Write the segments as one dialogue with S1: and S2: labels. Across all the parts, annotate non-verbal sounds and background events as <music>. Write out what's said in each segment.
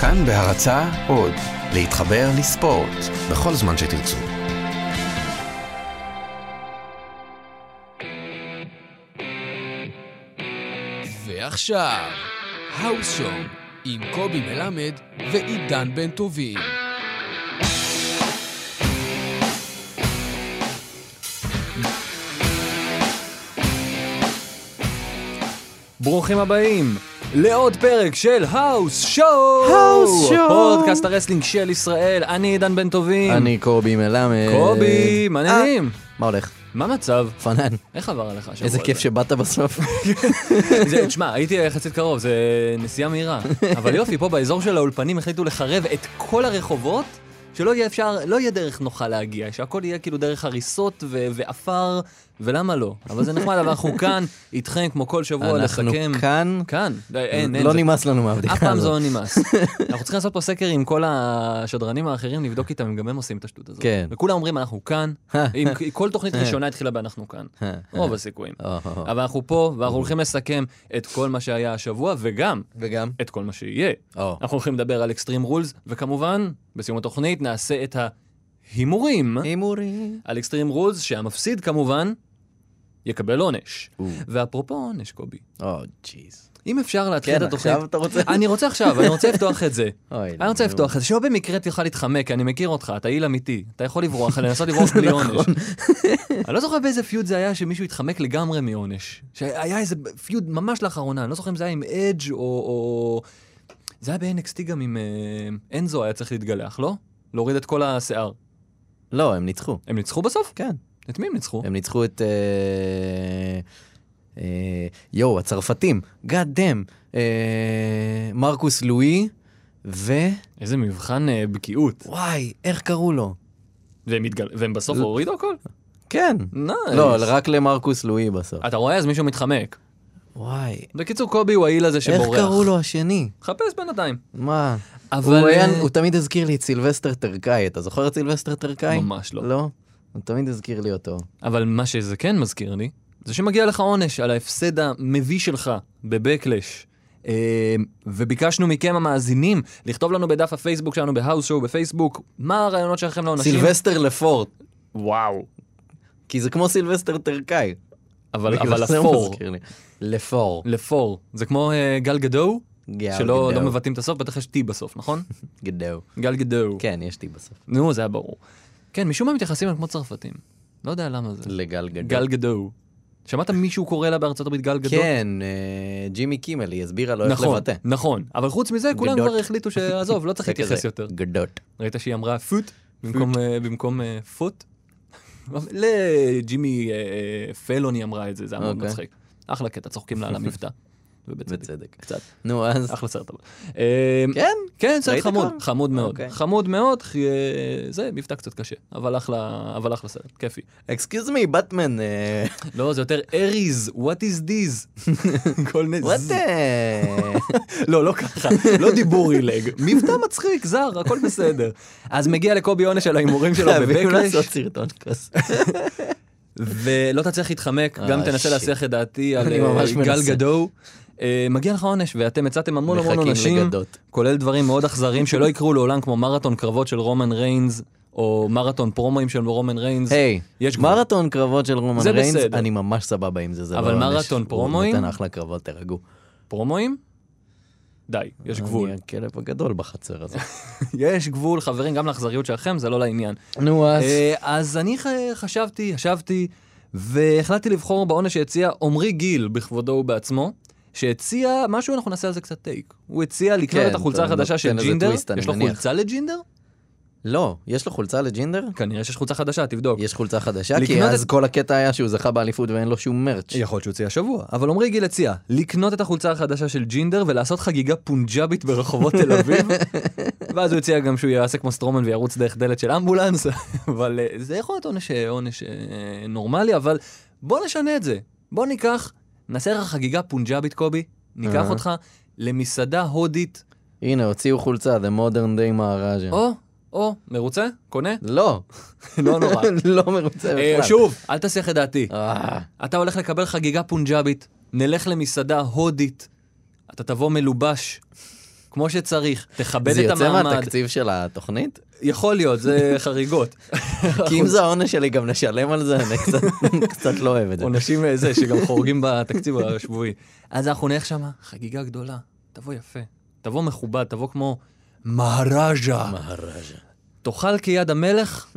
S1: כאן בהרצה עוד, להתחבר לספורט,
S2: בכל זמן שתרצו.
S3: ועכשיו, האוס שואו עם קובי מלמד ועידן בן טובים.
S4: ברוכים הבאים לעוד פרק של האוס שואו!
S5: האוס שואו!
S4: פודקאסט הרסלינג של ישראל, אני עידן בן טובים.
S5: אני קובי מלמד.
S4: קובי, מה העניינים?
S5: מה הולך?
S4: מה המצב?
S5: פנן.
S4: איך עבר עליך השבוע?
S5: איזה כיף
S4: הזה?
S5: שבאת בסוף.
S4: <laughs> זה- תשמע, הייתי יחסית קרוב, זה נסיעה
S5: <laughs>
S4: מהירה. אבל יופי, פה באזור של האולפנים החליטו לחרב את כל הרחובות, שלא יהיה אפשר, לא יהיה דרך נוחה להגיע, שהכל יהיה כאילו דרך הריסות ו- ועפר, ולמה לא? אבל זה נחמד, אבל
S5: <laughs>
S4: אנחנו כאן, איתכם כמו כל שבוע, לסכם.
S5: אנחנו כאן.
S4: כאן, לא, אין, אין.
S5: לא
S4: זה-
S5: נמאס לנו מהבדיחה
S4: אף
S5: הזאת.
S4: פעם
S5: <laughs>
S4: זה לא נמאס. אנחנו צריכים לעשות פה סקר עם כל השדרנים האחרים, לבדוק איתם אם גם הם עושים את השטות הזאת.
S5: כן.
S4: וכולם אומרים, אנחנו
S5: <laughs>
S4: כאן. אם כל תוכנית ראשונה התחילה ב"אנחנו כאן".
S5: אה,
S4: רוב
S5: <laughs>
S4: הסיכויים.
S5: או, או, או.
S4: אבל אנחנו פה, ואנחנו הולכים לסכם את כל מה שהיה השבוע, וגם אה.
S5: וגם?
S4: את כל מה שיהיה.
S5: או.
S4: אנחנו הולכים לדבר על אקסטרים רולס, וכמובן, בסיום התוכנית נעשה את ההימורים
S5: אה. הימורים.
S4: על אקסטרים רולס, שהמפסיד כמובן יקבל עונש.
S5: או.
S4: ואפרופו עונש, קובי,
S5: או, ג'יז.
S4: אם אפשר להתחיל את
S5: כן,
S4: התוכנית...
S5: עכשיו אתה רוצה?
S4: אני רוצה עכשיו, אני רוצה לפתוח את <laughs> זה.
S5: אוי, לא.
S4: אני רוצה
S5: נו.
S4: לפתוח את זה, שלא במקרה תוכל להתחמק, כי אני מכיר אותך, אתה איל אמיתי. אתה יכול <laughs> לברוח, לנסות לברוח בלי עונש. אני לא זוכר באיזה פיוד זה היה שמישהו התחמק לגמרי מעונש. שהיה איזה פיוד ממש לאחרונה, אני לא זוכר אם זה היה עם אדג' או... או... זה היה ב-NXT גם עם... אה, אנזו היה צריך להתגלח, לא? להוריד את כל השיער.
S5: לא, הם ניצחו.
S4: הם ניצחו בסוף?
S5: כן.
S4: את מי הם ניצחו?
S5: הם ניצחו את... אה, אה, יואו, הצרפתים. גאד דאם. מרקוס לואי. ו...
S4: איזה מבחן אה, בקיאות.
S5: וואי, איך קראו לו?
S4: והם, התגל... והם בסוף
S5: ל-
S4: הורידו הכל?
S5: כן.
S4: נייס.
S5: לא, רק למרקוס לואי בסוף.
S4: אתה רואה? אז מישהו מתחמק.
S5: וואי,
S4: בקיצור, קובי הוא האיל הזה
S5: איך
S4: שבורח.
S5: קראו לו השני?
S4: חפש בינתיים.
S5: מה?
S4: אבל...
S5: הוא, היה,
S4: אה,
S5: הוא תמיד הזכיר לי את סילבסטר טרקאי, אתה זוכר את סילבסטר טרקאי?
S4: ממש לא.
S5: לא? הוא תמיד הזכיר לי אותו.
S4: אבל מה שזה כן מזכיר לי, זה שמגיע לך עונש על ההפסד המביש שלך בבקלש. אה, וביקשנו מכם המאזינים לכתוב לנו בדף הפייסבוק שלנו בהאוס שואו בפייסבוק מה הרעיונות שלכם לעונשים.
S5: סילבסטר לפורט,
S4: וואו.
S5: כי זה כמו סילבסטר טרקאי.
S4: אבל,
S5: בגלל
S4: אבל
S5: זה הוא
S4: לפור,
S5: מזכיר לי. לפור.
S4: לפור, זה כמו אה, גל גדו,
S5: גאו,
S4: שלא
S5: גדו,
S4: לא מבטאים את הסוף, בטח יש T בסוף,
S5: <laughs>
S4: נכון?
S5: גדו.
S4: גל גדו.
S5: כן, יש לי בסוף.
S4: נו, זה היה ברור. כן, משום מה מתייחסים אליהם כמו צרפתים. לא יודע למה זה.
S5: לגל גדו.
S4: גל גדו. שמעת מישהו קורא לה בארצות הברית גל גדו?
S5: כן, אה, ג'ימי קימל, היא הסבירה לו איך
S4: נכון,
S5: לבטא.
S4: נכון, אבל חוץ מזה כולם
S5: גדות.
S4: כבר החליטו שעזוב, לא צריך
S5: <laughs> זה
S4: להתייחס
S5: כזה,
S4: יותר.
S5: גדות.
S4: ראית שהיא אמרה פוט במקום, אה, במקום אה, פוט? <laughs> לג'ימי אה, אה, פלון היא אמרה את זה, זה היה מאוד
S5: אוקיי.
S4: מצחיק. אחלה קטע, צוחקים לה על
S5: <laughs>
S4: המבטא. ובצדק.
S5: בצדק.
S4: קצת.
S5: נו, אז...
S4: אחלה סרט אבל. אה,
S5: כן?
S4: כן, סרט
S5: ראית
S4: חמוד,
S5: כבר?
S4: חמוד מאוד.
S5: אוקיי.
S4: חמוד מאוד, חי- אה, זה מבטא קצת קשה, אבל אחלה אבל אחלה סרט, כיפי.
S5: אקסקיוז מי, בטמן.
S4: <laughs> לא, זה יותר אריז, what is this? <laughs> כל מיני...
S5: וואט...
S4: ז-
S5: אה?
S4: <laughs> לא, לא ככה, לא דיבור עילג, מבטא מצחיק, זר, הכל בסדר. אז מגיע לקובי עונש על ההימורים
S5: <laughs>
S4: שלו
S5: חייבים
S4: בבקלש,
S5: לעשות סרטון כזה.
S4: ולא תצליח להתחמק,
S5: אה,
S4: גם תנסה
S5: שיט.
S4: להסיח את דעתי על
S5: אני
S4: אה,
S5: ממש
S4: גל
S5: מנסה.
S4: גדו. אה, מגיע לך עונש, ואתם הצעתם המון המון
S5: מחכים
S4: עונשים,
S5: לגדות.
S4: כולל דברים מאוד אכזריים שלא יקרו לעולם, כמו מרתון קרבות של רומן ריינס, או מרתון פרומואים של רומן ריינס.
S5: היי,
S4: יש גבול.
S5: מרתון קרבות של רומן
S4: זה
S5: ריינס,
S4: בסדר.
S5: אני ממש סבבה עם זה, זה לא
S4: אבל
S5: עונש.
S4: מרתון פרומואים?
S5: הוא נותן אחלה קרבות, תירגעו.
S4: פרומואים? די, יש גבול.
S5: אני הכלב הגדול בחצר הזאת.
S4: <laughs> יש גבול, חברים, גם לאכזריות שלכם, זה לא לעניין.
S5: <laughs> נו אז.
S4: אה, אז אני ח- חשבתי, ישבתי, והחלטתי לבחור בעונש שהציע עמרי גיל בכבודו ובעצמו, שהציע משהו, אנחנו נעשה על זה קצת טייק. הוא הציע לקנות
S5: כן,
S4: את החולצה
S5: אתה
S4: החדשה
S5: נותן
S4: של
S5: לזה
S4: ג'ינדר,
S5: טוויסט, אני
S4: יש לו
S5: מניח.
S4: חולצה לג'ינדר?
S5: לא, יש לו חולצה לג'ינדר?
S4: כנראה שיש חולצה חדשה, תבדוק.
S5: יש חולצה חדשה? כי
S4: לקנות
S5: אז
S4: את-
S5: כל הקטע היה שהוא זכה באליפות ואין לו שום מרץ'.
S4: יכול להיות שהוא הציע השבוע, אבל עמרי גיל הציע לקנות את החולצה החדשה של ג'ינדר ולעשות חגיגה פונג'אבית ברחובות תל
S5: <laughs>
S4: אביב, ואז הוא הציע גם שהוא יעשה כמו סטרומן וירוץ דרך דלת של אמבולנס, <laughs> אבל אה, זה יכול להיות עונש, אה, עונש אה, נורמלי, אבל בוא נשנה את זה. בוא ניקח, נעשה לך חגיגה פונג'אבית קובי, ניקח
S5: אהה.
S4: אותך למסעדה הודית,
S5: הנה, הוציאו חולצה, The Modern Day מהראז'ה.
S4: או, או, מרוצה?
S5: <laughs>
S4: קונה?
S5: לא,
S4: לא
S5: <laughs>
S4: נורא.
S5: לא מרוצה
S4: אה,
S5: בכלל.
S4: שוב, אל תסיח את דעתי.
S5: אה,
S4: אתה הולך לקבל חגיגה פונג'אבית, נלך למסעדה הודית, אתה תבוא מלובש, כמו שצריך, תכבד
S5: זה
S4: את
S5: יוצא
S4: המעמד.
S5: מהתקציב של התוכנית?
S4: <laughs> יכול להיות,
S5: <laughs>
S4: זה חריגות.
S5: כי אם זה העונש שלי גם לשלם על זה, אני קצת- <laughs> קצת לא אוהב את זה.
S4: עונשים אה, זה, שגם חורגים בתקציב השבועי. אז אנחנו נלך שמה, חגיגה גדולה, תבוא יפה, תבוא מכובד, תבוא כמו מהראז'ה.
S5: מהראז'ה.
S4: תאכל כיד המלך, <laughs>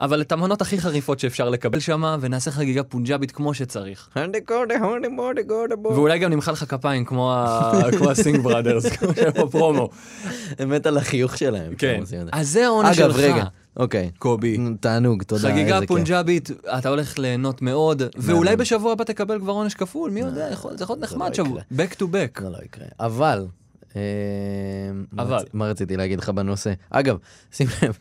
S4: אבל את המנות הכי חריפות שאפשר לקבל שמה, ונעשה חגיגה פונג'אבית כמו שצריך. ואולי גם נמחא לך כפיים כמו ה-
S5: <laughs>
S4: כמו הסינג בראדרס, כמו שהיה בפרומו.
S5: אמת על החיוך שלהם.
S4: כן.
S5: שהם עושים את זה.
S4: אז זה העונש שלך.
S5: אגב, רגע, אוקיי.
S4: קובי.
S5: נו, תענוג, תודה.
S4: חגיגה
S5: איזה כיף.
S4: פונג'אבית, אתה הולך ליהנות מאוד, ואולי בשבוע הבא תקבל כבר עונש כפול, מי יודע, יכול- זה יכול להיות
S5: זה
S4: נחמד
S5: לא
S4: שבוע, back to back.
S5: זה לא יקרה. אבל, אה, מה
S4: אבל.
S5: רצ- מה רציתי להגיד לך בנושא? אגב, שים לב,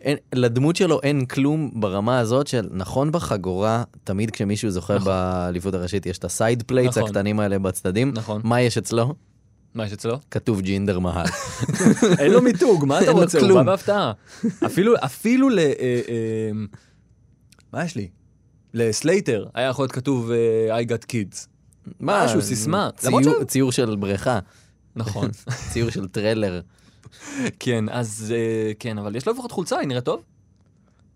S5: אין- לדמות שלו אין כלום ברמה הזאת של, נכון בחגורה, תמיד כשמישהו זוכה באליפות הראשית יש את הסייד פלייטס
S4: נכון.
S5: הקטנים האלה בצדדים.
S4: נכון.
S5: מה יש אצלו?
S4: מה יש אצלו?
S5: כתוב ג'ינדר מהל.
S4: <laughs> אין לו מיתוג, מה אתה
S5: אין לו
S4: רוצה? הוא
S5: כלום.
S4: בא בהפתעה. אפילו, אפילו ל... אה, אה, מה יש לי? לסלייטר היה יכול להיות כתוב אה, I got kids. <laughs> משהו, סיסמה.
S5: ציור-
S4: למרות ש-
S5: ציור של בריכה,
S4: נכון.
S5: ציור של טרלר.
S4: <laughs> כן, אז אה, כן, אבל יש לו לפחות חולצה, היא נראית טוב.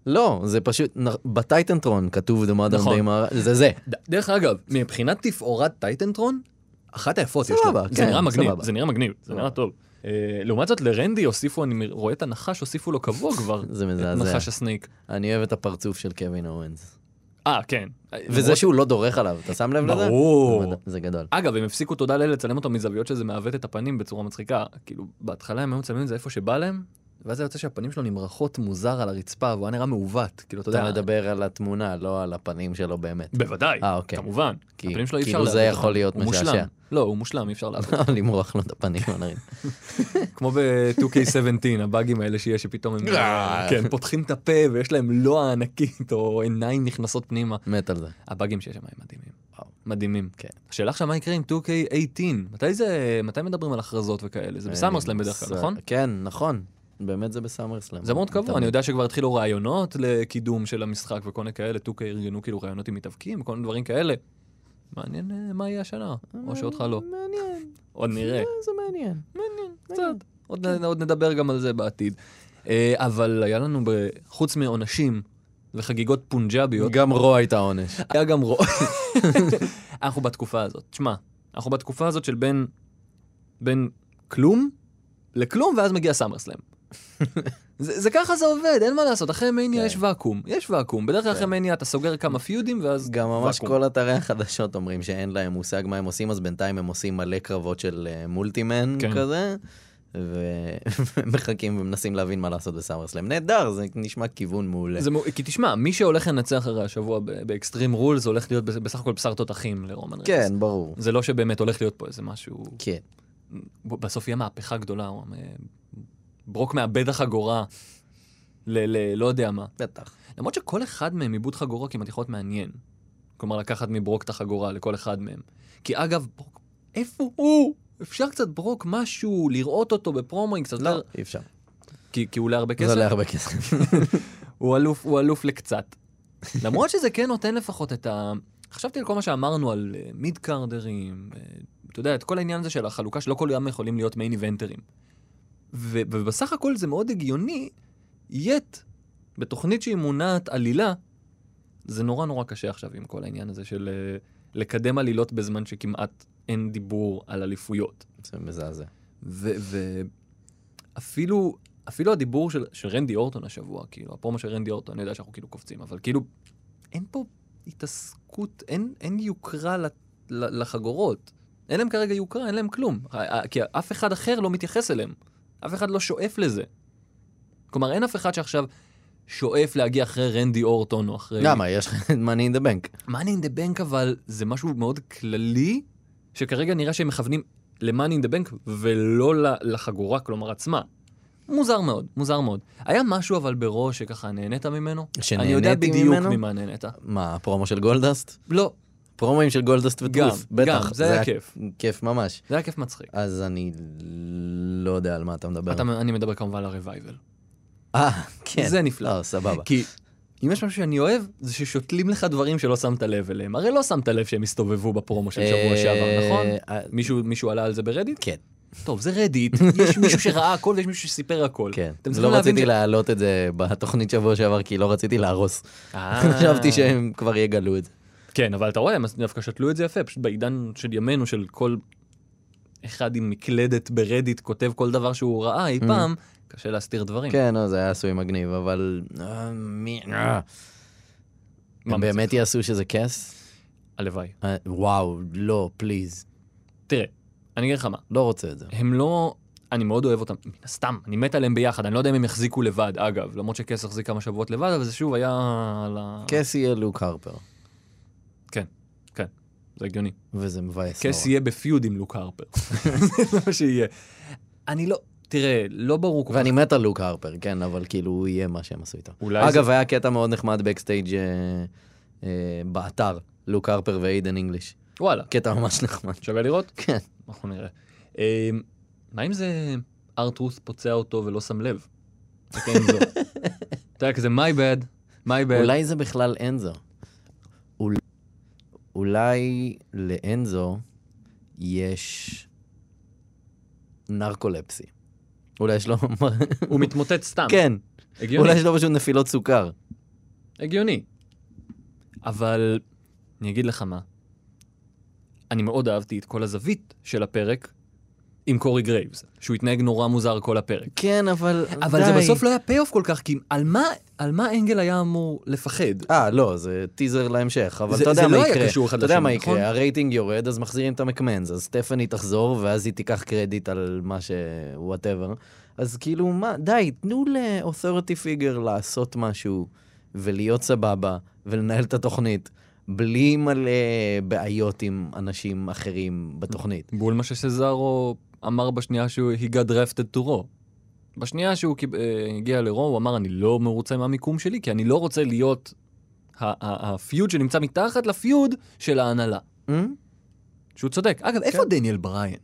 S5: לא, זה פשוט, נ- בטייטנטרון כתוב The Modern
S4: נכון.
S5: Day Mar- זה זה.
S4: ד- דרך אגב, מבחינת תפאורת טייטנטרון, אחת היפות יש
S5: סבבה,
S4: לו. זה
S5: כן,
S4: נראה מגניב,
S5: סבבה.
S4: זה נראה מגניב, זה נראה טוב. אה, לעומת זאת, לרנדי הוסיפו, אני מ- רואה את הנחש, הוסיפו לו קבוע כבר.
S5: זה
S4: את
S5: מזעזע.
S4: נחש הסנייק.
S5: אני אוהב את הפרצוף של קווין אורנס.
S4: אה, כן.
S5: וזה שהוא לא דורך עליו, אתה שם לב לזה?
S4: ברור.
S5: זה מד- זה גדול.
S4: אגב, הם הפסיקו תודה לאל לצלם אותו מזוויות שזה מעוות את הפנים בצורה מצחיקה. כאילו, בהתחלה הם היו מצלמים את זה איפה שבא להם, ואז היה יוצא שהפנים שלו נמרחות מוזר על הרצפה, והוא היה נראה מעוות. כאילו, אתה
S5: אתה
S4: יודע...
S5: מדבר על התמונה, לא על הפנים שלו באמת.
S4: בוודאי,
S5: אה, אוקיי.
S4: כמובן.
S5: כי-
S4: הפנים שלו אי אפשר
S5: כאילו זה
S4: לעוות
S5: יכול
S4: אותם.
S5: להיות
S4: הוא
S5: משעשע. <laughs>
S4: מושלם. לא, הוא מושלם, אי אפשר לעבוד.
S5: למרוח לו לא את הפנים. על הרצפה.
S4: כמו ב-2K17, <laughs> הבאגים האלה שיש, שפתאום הם
S5: אה.
S4: כן, פותחים את הפה ויש להם לוע ענקית או עיניים נכנסות פנימה.
S5: מת על זה.
S4: הבאגים שיש שם הם מדהימים.
S5: וואו.
S4: מדהימים.
S5: כן.
S4: השאלה עכשיו מה יקרה עם 2K18? מתי זה, מתי מדברים על הכרזות וכאלה? זה בסאמרסלאם בדרך כלל,
S5: אה, זה-
S4: נכון?
S5: כן, נכון. באמת זה בסאמרסלאם.
S4: זה מאוד קבוע, אני יודע שכבר התחילו רעיונות לקידום של המשחק וכל מיני כאלה, טוקה ארגנו כאילו רעיונות עם מתאבקים וכל מיני דברים כאלה. מעניין אה, מה יהיה השנה, או שאותך לא.
S5: אה, מעניין.
S4: עוד נראה.
S5: אה, זה מעניין.
S4: קצת. עוד נ- עוד נדבר גם על זה בעתיד. אה, אבל היה לנו, ב- חוץ מעונשים וחגיגות פונג'ביות,
S5: גם רו הייתה עונש.
S4: היה גם רוע. <laughs> אנחנו בתקופה הזאת. תשמע, אנחנו בתקופה הזאת של בין, בין כלום לכלום, ואז מגיע סאמרסלאם. <laughs> זה, זה ככה זה עובד, אין מה לעשות. אחרי מניה
S5: כן.
S4: יש ואקום, יש ואקום. בדרך כלל אחרי
S5: כן.
S4: מניה אתה סוגר כמה פיודים, ואז
S5: גם ממש
S4: ואקום.
S5: כל אתרי החדשות אומרים שאין להם מושג מה הם עושים, אז בינתיים הם עושים מלא קרבות של אה, מולטימן
S4: כן.
S5: כזה, ו- <laughs> ומחכים ומנסים להבין מה לעשות בסאמרסלאם. נהדר, זה נשמע כיוון מעולה.
S4: זה, מ- כי תשמע, מי שהולך לנצח הרי השבוע ב- באקסטרים רולס הולך להיות בס- בסך הכל בשר תותחים לרומן ריינס.
S5: כן, ברור.
S4: זה לא שבאמת הולך להיות פה איזה משהו,
S5: כן.
S4: ב- בסוף יהיה מהפכה גדולה, או, אה, ברוק מאבד החגורה, ל... ל- לא יודע מה.
S5: בטח.
S4: למרות שכל אחד מהם עיבוד חגורה כמעט יכול להיות מעניין. כלומר, לקחת מברוק את החגורה לכל אחד מהם. כי אגב, ברוק, איפה הוא? אפשר קצת ברוק משהו, לראות אותו בפרומואים קצת,
S5: לא,
S4: יותר-
S5: אי אפשר.
S4: כי, כי הוא עולה הרבה
S5: זה
S4: כסף,
S5: עולה הרבה כסף. <laughs>
S4: הוא אלוף, הוא אלוף לקצת. <laughs> למרות שזה כן נותן לפחות את ה... חשבתי על כל מה שאמרנו על אה, מיד קארדרים, אה, אתה יודע, את כל העניין הזה של החלוקה שלא כל ים יכולים להיות מיין איבנטרים. ו- ובסך הכל זה מאוד הגיוני, יט, בתוכנית שהיא מונעת עלילה, זה נורא נורא קשה עכשיו עם כל העניין הזה של אה, לקדם עלילות בזמן שכמעט אין דיבור על אליפויות.
S5: זה מזעזע.
S4: ואפילו אפילו הדיבור של, של רנדי אורטון השבוע, כאילו, הפרומו של רנדי אורטון, אני יודע שאנחנו כאילו קופצים, אבל כאילו, אין פה התעסקות, אין, אין יוקרה ל- ל- לחגורות. אין להם כרגע יוקרה, אין להם כלום. ה- ה- כי אף אחד אחר לא מתייחס אליהם. אף אחד לא שואף לזה. כלומר, אין אף אחד שעכשיו שואף להגיע אחרי רנדי אורטון או אחרי...
S5: למה? אה, יש לך את money in the bank.
S4: money in the bank אבל זה משהו מאוד כללי, שכרגע נראה שהם מכוונים ל-money in the bank ולא ל- לחגורה, כלומר עצמה. מוזר מאוד, מוזר מאוד. היה משהו אבל בראש שככה נהנית ממנו? אני יודע
S5: שנהניתי
S4: בדיוק
S5: ממנו?
S4: ממה נהנית.
S5: מה, הפרומו של גולדסט?
S4: לא,
S5: פרומואים של גולדסט וטרוף.
S4: גם,
S5: בטח.
S4: גם, זה היה כיף.
S5: כיף ממש.
S4: זה היה כיף מצחיק.
S5: אז אני לא יודע על מה אתה מדבר.
S4: אתה, אני מדבר כמובן על הרווייבל.
S5: אה, כן.
S4: זה נפלא.
S5: לא, סבבה.
S4: כי אם יש משהו שאני אוהב, זה ששותלים לך דברים שלא שמת לב אליהם. הרי לא שמת לב שהם הסתובבו בפרומו של שבוע שעבר, נכון?
S5: אה,
S4: מישהו, מישהו עלה על זה ברדיט?
S5: כן.
S4: טוב, זה
S5: <laughs>
S4: רדיט, יש מישהו שראה הכל ויש מישהו שסיפר הכל.
S5: כן.
S4: אתם צריכים
S5: לא
S4: להבין ש-
S5: רציתי להעלות את זה בתוכנית שבוע שעבר, כי לא רציתי להרוס.
S4: אה.
S5: <laughs> חשבתי שהם כבר יגלו את זה.
S4: כן, אבל אתה רואה, הם דווקא שתלו את זה יפה, פשוט בעידן של ימינו, של כל אחד עם מקלדת ברדיט כותב כל דבר שהוא ראה אי פעם, קשה להסתיר דברים.
S5: Mm-hmm. כן, לא, זה היה עשוי מגניב, אבל... אה, מי- אה.
S4: מה
S5: הם
S4: מצחיק?
S5: באמת יעשו שזה כס?
S4: הלוואי.
S5: אה, וואו, לא, פליז.
S4: תראה, אני אגיד לך מה,
S5: לא רוצה את זה.
S4: הם לא... אני מאוד אוהב אותם, מן הסתם, אני מת עליהם ביחד, אני לא יודע אם הם יחזיקו לבד, אגב, למרות שקס החזיק כמה שבועות לבד, אבל זה שוב היה... על ה-
S5: כס יהיה לוק הרפר,
S4: זה הגיוני.
S5: וזה מבאס נורא.
S4: קס יהיה בפיוד עם לוק הרפר. <laughs> זה מה שיהיה. אני לא... תראה, לא ברור כל כך...
S5: ואני מת על לוק הרפר, כן, אבל כאילו הוא יהיה מה שהם עשו איתו.
S4: אולי זה...
S5: אגב, היה קטע מאוד נחמד בקסטייג' אה, אה, באתר, לוק הרפר ואיידן אינגליש.
S4: וואלה. כן,
S5: קטע ממש נחמד.
S4: שווה לראות?
S5: כן.
S4: אנחנו נראה. אה, מה אם זה ארתרוס פוצע אותו ולא שם לב? תקן עם
S5: <laughs>
S4: זאת. אתה יודע, כזה my bad, my bad.
S5: אולי זה בכלל אנזו. אול- אולי לאנזו יש נרקולפסי. אולי יש לו...
S4: <laughs> הוא מתמוטט סתם.
S5: כן,
S4: הגיוני.
S5: אולי יש לו פשוט נפילות סוכר.
S4: הגיוני. אבל אני אגיד לך מה, אני מאוד אהבתי את כל הזווית של הפרק עם קורי גרייבס, שהוא התנהג נורא מוזר כל הפרק.
S5: כן, אבל...
S4: אבל זה
S5: די.
S4: בסוף לא היה פי-אוף כל כך, כי על מה, על מה אנגל היה אמור לפחד?
S5: אה, לא, זה טיזר להמשך, אבל
S4: זה-
S5: אתה
S4: זה
S5: יודע מה
S4: לא
S5: יקרה.
S4: היה קשור אחד
S5: אתה יודע
S4: לשני,
S5: מה
S4: נכון?
S5: יקרה, הרייטינג יורד, אז מחזירים את המקמנז, אז סטפני תחזור, ואז היא תיקח קרדיט על מה ש... וואטאבר. אז כאילו, מה, די, תנו ל-authority figure לעשות משהו, ולהיות סבבה, ולנהל את התוכנית, בלי מלא בעיות עם אנשים אחרים בתוכנית.
S4: בול מה שסזארו אמר בשנייה שהוא he got drafted to raw. בשנייה שהוא קיב- אה, הגיע לרו הוא אמר אני לא מרוצה מהמיקום שלי כי אני לא רוצה להיות ה- ה- הפיוד שנמצא מתחת לפיוד של ההנהלה.
S5: Hmm?
S4: שהוא צודק. כן. אגב, איפה דניאל בריין?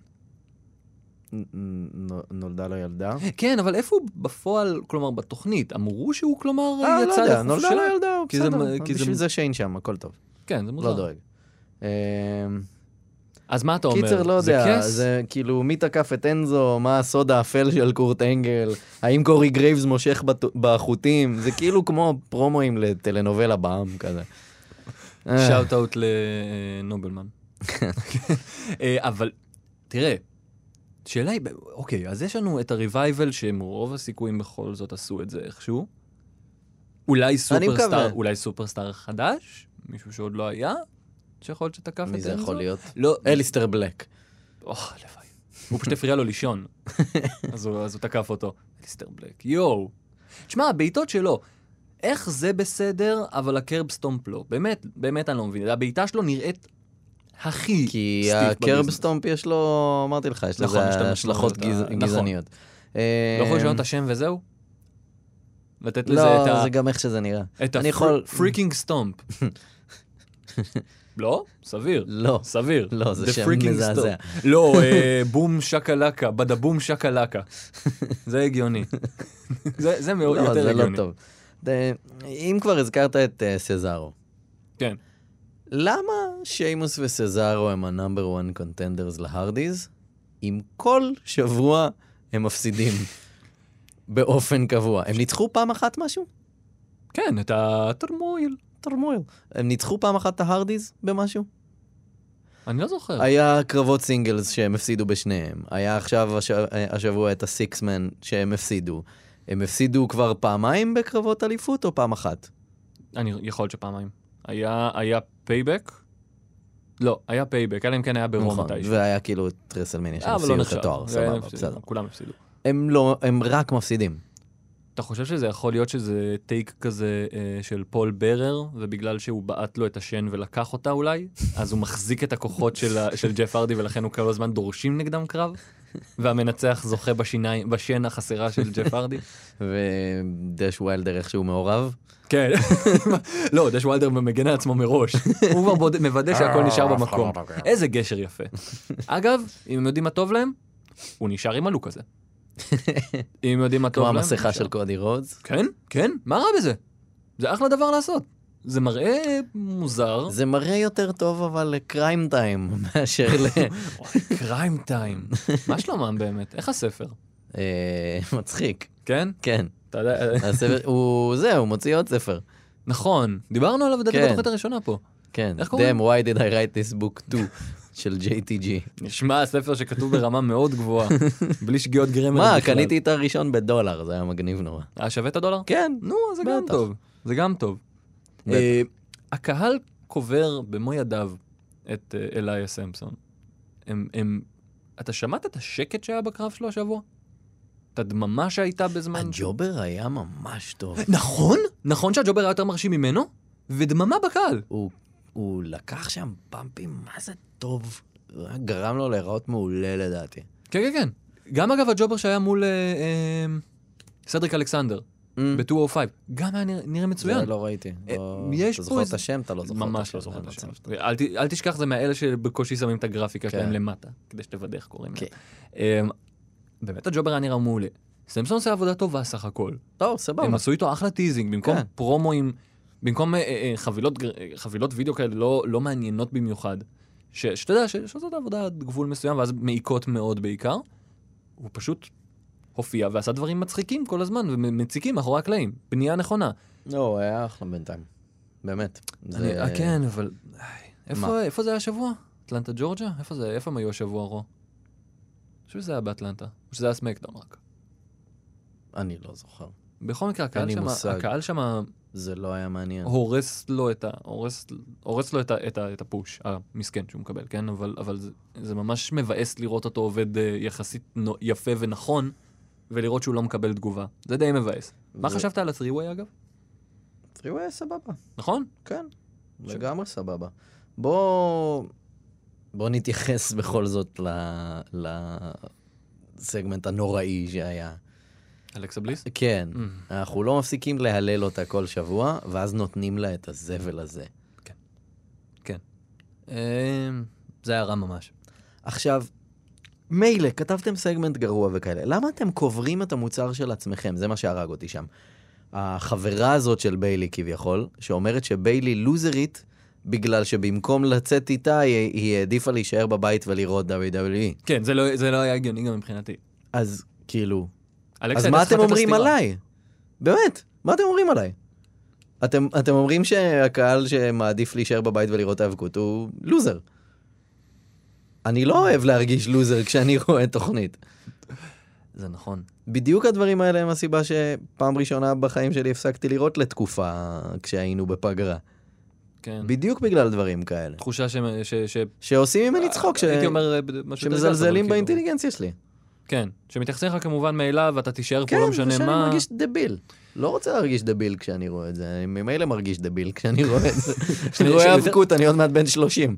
S5: נ- נ- נולדה לו ילדה?
S4: כן, אבל איפה הוא בפועל, כלומר בתוכנית? אמרו שהוא כלומר
S5: אה, לא
S4: יצא לחופשה?
S5: יודע, נולדה לו ילדה,
S4: כי זה
S5: בסדר.
S4: מ- כי זה מ-
S5: בשביל זה שיין שם, הכל טוב.
S4: כן, זה
S5: לא
S4: מוזר.
S5: דואג. אמ,
S4: אז מה אתה אומר?
S5: קיצר, לא
S4: זה
S5: יודע,
S4: כס?
S5: זה כאילו, מי תקף את אנזו, מה הסוד האפל של קורט אנגל, האם קורי גרייבס מושך בת- בחוטים, זה כאילו כמו פרומואים לטלנובלה בעם כזה. אה,
S4: שאוט אאוט
S5: <laughs>
S4: לנובלמן. אה, אבל תראה, שאלה היא, אוקיי, אז יש לנו את הרווייבל שהם רוב הסיכויים בכל זאת עשו את זה איכשהו. אולי סופרסטאר,
S5: מקווה.
S4: אולי סופרסטאר חדש, מישהו שעוד לא היה, שיכול להיות שתקף את
S5: מי זה
S4: אנזו?
S5: יכול להיות?
S4: לא,
S5: אליסטר בלק.
S4: אוח, הלוואי. הוא פשוט הפריע לו
S5: <laughs>
S4: לישון, אז הוא אז הוא תקף אותו. אליסטר בלק, יואו. תשמע, הבעיטות שלו, איך זה בסדר, אבל הקרב סטומפ לא. באמת, באמת אני לא מבין. הבעיטה שלו נראית הכי
S5: כי
S4: סטיף
S5: הקרב
S4: בביזנס.
S5: סטומפ יש לו, אמרתי לך, יש
S4: נכון, יש את
S5: לזה
S4: המשמעויות
S5: השלכות גז-
S4: ה- נכון.
S5: גזעניות. אה,
S4: לא יכול לשנות את השם וזהו? לתת לזה את
S5: לא,
S4: ה...
S5: זה גם איך שזה נראה.
S4: את
S5: אני יכול-
S4: הפריקינג סטומפ.
S5: <laughs>
S4: לא? סביר.
S5: לא.
S4: סביר.
S5: לא, זה
S4: The
S5: שם
S4: freaking
S5: מזעזע.
S4: stone. לא, אה, בום שקלקה, בדה בום שקלקה. זה הגיוני. זה זה מאוד
S5: לא,
S4: יותר
S5: זה
S4: הגיוני.
S5: לא טוב. זה- אם כבר הזכרת את אה, סזארו.
S4: כן.
S5: למה שיימוס וסזארו הם הנאמבר 1 קונטנדרס להרדיז, אם כל שבוע הם מפסידים <laughs> באופן קבוע? הם ניצחו פעם אחת משהו?
S4: כן, את הטרמויל.
S5: תרמויל. הם ניצחו פעם אחת את ההרדיז במשהו?
S4: אני לא זוכר.
S5: היה קרבות סינגלס שהם הפסידו בשניהם, היה עכשיו הש... אה, השבוע את הסיקסמן שהם הפסידו. הם הפסידו כבר פעמיים בקרבות אליפות או פעם אחת?
S4: אני יכול להיות שפעמיים. היה היה פייבק? לא, היה פייבק, אלא אם כן היה ברום
S5: נכון,
S4: מתישהו.
S5: והיה כאילו את טרסלמניה שהם
S4: אבל לא
S5: הפסידו את
S4: נחשב.
S5: התואר,
S4: זה היה
S5: סבבה,
S4: הפסיד,
S5: בסדר.
S4: כולם הפסידו.
S5: הם לא, הם רק מפסידים.
S4: אתה חושב שזה יכול להיות שזה טייק כזה אה, של פול ברר, ובגלל שהוא בעט לו את השן ולקח אותה אולי, אז הוא מחזיק את הכוחות של, ה- של ג'ף הרדי ולכן הוא כל הזמן דורשים נגדם קרב? והמנצח זוכה בשיניים, בשן החסרה של ג'ף הרדי?
S5: ודש ויילדר איכשהו מעורב.
S4: כן. <laughs> לא, דש וולדר מגן על עצמו מראש. הוא כבר בוד- מוודא שהכל נשאר במקום. איזה גשר יפה. אגב, אם הם יודעים מה טוב להם, הוא נשאר עם הלוק הזה. אם הם יודעים מה טוב
S5: כמו
S4: להם...
S5: המסכה
S4: נשאר.
S5: של קודי רודס.
S4: כן, כן, מה רע בזה? זה אחלה דבר לעשות. זה מראה מוזר. <laughs>
S5: זה מראה יותר טוב אבל לקריים טיים <laughs> מאשר ל...
S4: קריים טיים. מה שלומם באמת? איך הספר?
S5: אה, מצחיק,
S4: כן?
S5: כן.
S4: אתה יודע... <laughs>
S5: הספר, הוא, זה, הוא מוציא עוד ספר.
S4: נכון, דיברנו עליו לדעתי
S5: כן.
S4: בתוכנית הראשונה פה.
S5: כן.
S4: איך קוראים?
S5: Damn, why did I write this book
S4: <laughs>
S5: 2 של JTG.
S4: נשמע ספר שכתוב ברמה מאוד <laughs> גבוהה, בלי שגיאות גרמר
S5: מה,
S4: בכלל.
S5: קניתי את הראשון בדולר, זה היה מגניב נורא.
S4: היה שווה את הדולר?
S5: כן.
S4: נו, אז זה גם
S5: בטח.
S4: טוב. זה גם טוב.
S5: בטח.
S4: אה, הקהל קובר במו ידיו את אה, אליה סמפסון. הם, הם... אתה שמעת את השקט שהיה בקרב שלו השבוע? את הדממה שהייתה בזמן...
S5: הג'ובר היה ממש טוב.
S4: נכון? נכון שהג'ובר היה יותר מרשים ממנו? ודממה בקהל.
S5: הוא- הוא לקח שם פאמפים, מה זה טוב. הוא היה- גרם לו להיראות מעולה לדעתי.
S4: כן, כן, כן. גם אגב הג'ובר שהיה מול אה, אה, סדריק אלכסנדר, ב-205, גם היה נראה- נראה
S5: זה
S4: מצוין.
S5: לא ראיתי.
S4: אה,
S5: לא-
S4: יש פה
S5: אתה זוכר את
S4: איזה-
S5: השם? אתה לא זוכר את השם.
S4: ממש לא זוכר את
S5: אני
S4: השם.
S5: רוצה-
S4: אל, ת- אל תשכח, זה מאלה שבקושי שמים את הגרפיקה
S5: כן.
S4: שלהם למטה, כדי שתוודא איך קוראים
S5: כן.
S4: להם. אמ, באמת הג'ובר היה נראה מעולה. סמסון עושה עבודה טובה סך הכל.
S5: טוב, סבבה.
S4: הם עשו איתו אחלה טיזינג, במקום
S5: כן.
S4: פרומואים, במקום אה, אה, חבילות גר- אה, חבילות וידאו כאלה לא- לא מעניינות במיוחד, ש- שאתה יודע ש- שזאת עבודה עד גבול מסוים ואז מעיקות מאוד בעיקר, הוא פשוט הופיע ועשה דברים מצחיקים כל הזמן ומציקים מאחורי הקלעים. בנייה נכונה.
S5: לא, הוא היה אחלה בינתיים. באמת.
S4: אני-
S5: זה-
S4: אה, כן, אבל... איי, איפה-
S5: מה?
S4: איפה זה היה השבוע? אטלנטה ג'ורג'ה? איפה זה? איפה הם היו השבוע, רו? אני חושב שזה היה באטלנטה, או שזה היה סמקדאון רק.
S5: אני לא זוכר.
S4: בכל מקרה, הקהל
S5: אין לי
S4: שם-
S5: מושג.
S4: הקהל שם
S5: זה לא היה מעניין.
S4: הורס לו את ה... הורס, הורס לו את, ה, את, ה, את הפוש המסכן שהוא מקבל, כן? אבל, אבל זה, זה ממש מבאס לראות אותו עובד אה, יחסית נו- יפה ונכון, ולראות שהוא לא מקבל תגובה. זה די מבאס. מה
S5: זה-
S4: חשבת על ה-3-way אגב?
S5: הוא היה סבבה.
S4: נכון?
S5: כן,
S4: ש-
S5: לגמרי סבבה. בוא... בוא נתייחס בכל זאת ל- לסגמנט הנוראי שהיה.
S4: אלכסה בליס?
S5: כן,
S4: Mm.
S5: אנחנו לא מפסיקים להלל אותה כל שבוע, ואז נותנים לה את הזבל הזה.
S4: אה, זה היה רע ממש.
S5: עכשיו, מילא, כתבתם סגמנט גרוע וכאלה, למה אתם קוברים את המוצר של עצמכם? זה מה שהרג אותי שם. החברה הזאת של ביילי כביכול, שאומרת שביילי לוזרית, בגלל שבמקום לצאת איתה, היא, היא העדיפה להישאר בבית ולראות WWE.
S4: כן, זה לא, זה לא היה הגיוני גם מבחינתי.
S5: אז כאילו,
S4: אלכסה
S5: אז
S4: הייתה
S5: מה
S4: צריכה
S5: אתם
S4: לתת לה
S5: אומרים
S4: סטירה.
S5: עליי? באמת, מה אתם אומרים עליי? אתם, אתם אומרים שהקהל שמעדיף להישאר בבית ולראות האבקות הוא לוזר. אני לא אוהב להרגיש לוזר כשאני <laughs> רואה תוכנית.
S4: זה נכון.
S5: בדיוק הדברים האלה הם הסיבה שפעם ראשונה בחיים שלי הפסקתי לראות לתקופה כשהיינו בפגרה.
S4: כן.
S5: בדיוק בגלל דברים כאלה.
S4: תחושה ש... ש, ש...
S5: שעושים ממני צחוק, ש...
S4: הייתי אומר, אה, ב- משהו יותר גס, אבל
S5: שמזלזלים
S4: כאילו-
S5: באינטליגנציה שלי.
S4: כן, שמתייחסים לך כמובן מאליו, ואתה תישאר פה,
S5: כן,
S4: לא משנה
S5: שאני
S4: מה.
S5: מרגיש דביל. לא רוצה להרגיש דביל כשאני רואה את זה, אני ממילא מרגיש דביל כשאני רואה את
S4: <laughs>
S5: זה. <laughs> כשאני רואה
S4: שיותר-
S5: אבקות, אני עוד מעט בן <laughs> 30.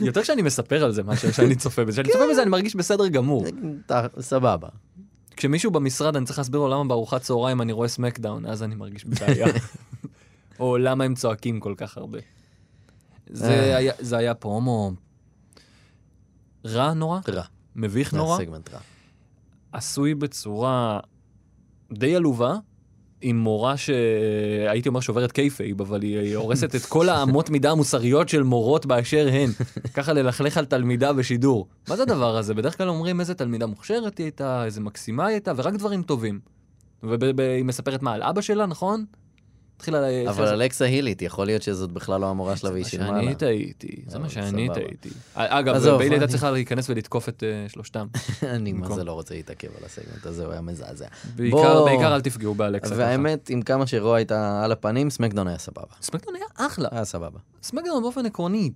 S4: יותר כשאני מספר על זה מאשר שאני צופה בזה. כשאני
S5: כן.
S4: צופה בזה אני מרגיש בסדר גמור.
S5: אתה- סבבה.
S4: כשמישהו במשרד אני צריך להסביר לו למה בארוחת צהריים אני רואה סמקדאון, אז אני מרגיש בבעיה.
S5: <laughs>
S4: או למה הם צועקים כל כך הרבה. זה
S5: אה.
S4: היה- זה היה פרומו רע נורא,
S5: רע.
S4: מביך
S5: זה
S4: נורא,
S5: סגמנט רע.
S4: עשוי בצורה די עלובה. עם מורה שהייתי אומר שוברת קייפייב, אבל היא היא הורסת את כל האמות מידה המוסריות של מורות באשר הן. ככה ללכלך על תלמידה בשידור. מה זה הדבר הזה? בדרך כלל אומרים איזה תלמידה מוכשרת היא הייתה, איזה מקסימה היא הייתה, ורק דברים טובים. והיא מספרת מה, על אבא שלה, נכון? התחילה... ל-
S5: אבל אלכסה הילית, יכול להיות שזאת בכלל לא המורה שלה והיא
S4: זה אה, מה
S5: שילמה לה.
S4: שאני טעיתי, זה מה
S5: אבל
S4: שאני
S5: סבבה.
S4: טעיתי. אגב,
S5: עזוב,
S4: ביילי הייתה
S5: אני-
S4: צריכה להיכנס ולתקוף את אה, שלושתם.
S5: <laughs> אני מה
S4: במקום.
S5: זה לא רוצה להתעכב על הסגמנט הזה, הוא היה מזעזע.
S4: בעיקר בעיקר אל תפגעו באלכסה. ככה.
S5: והאמת, עם כמה שרוע הייתה על הפנים, סמקדון היה סבבה.
S4: סמקדאון היה אחלה.
S5: היה סבבה.
S4: סמקדאון באופן עקרוני,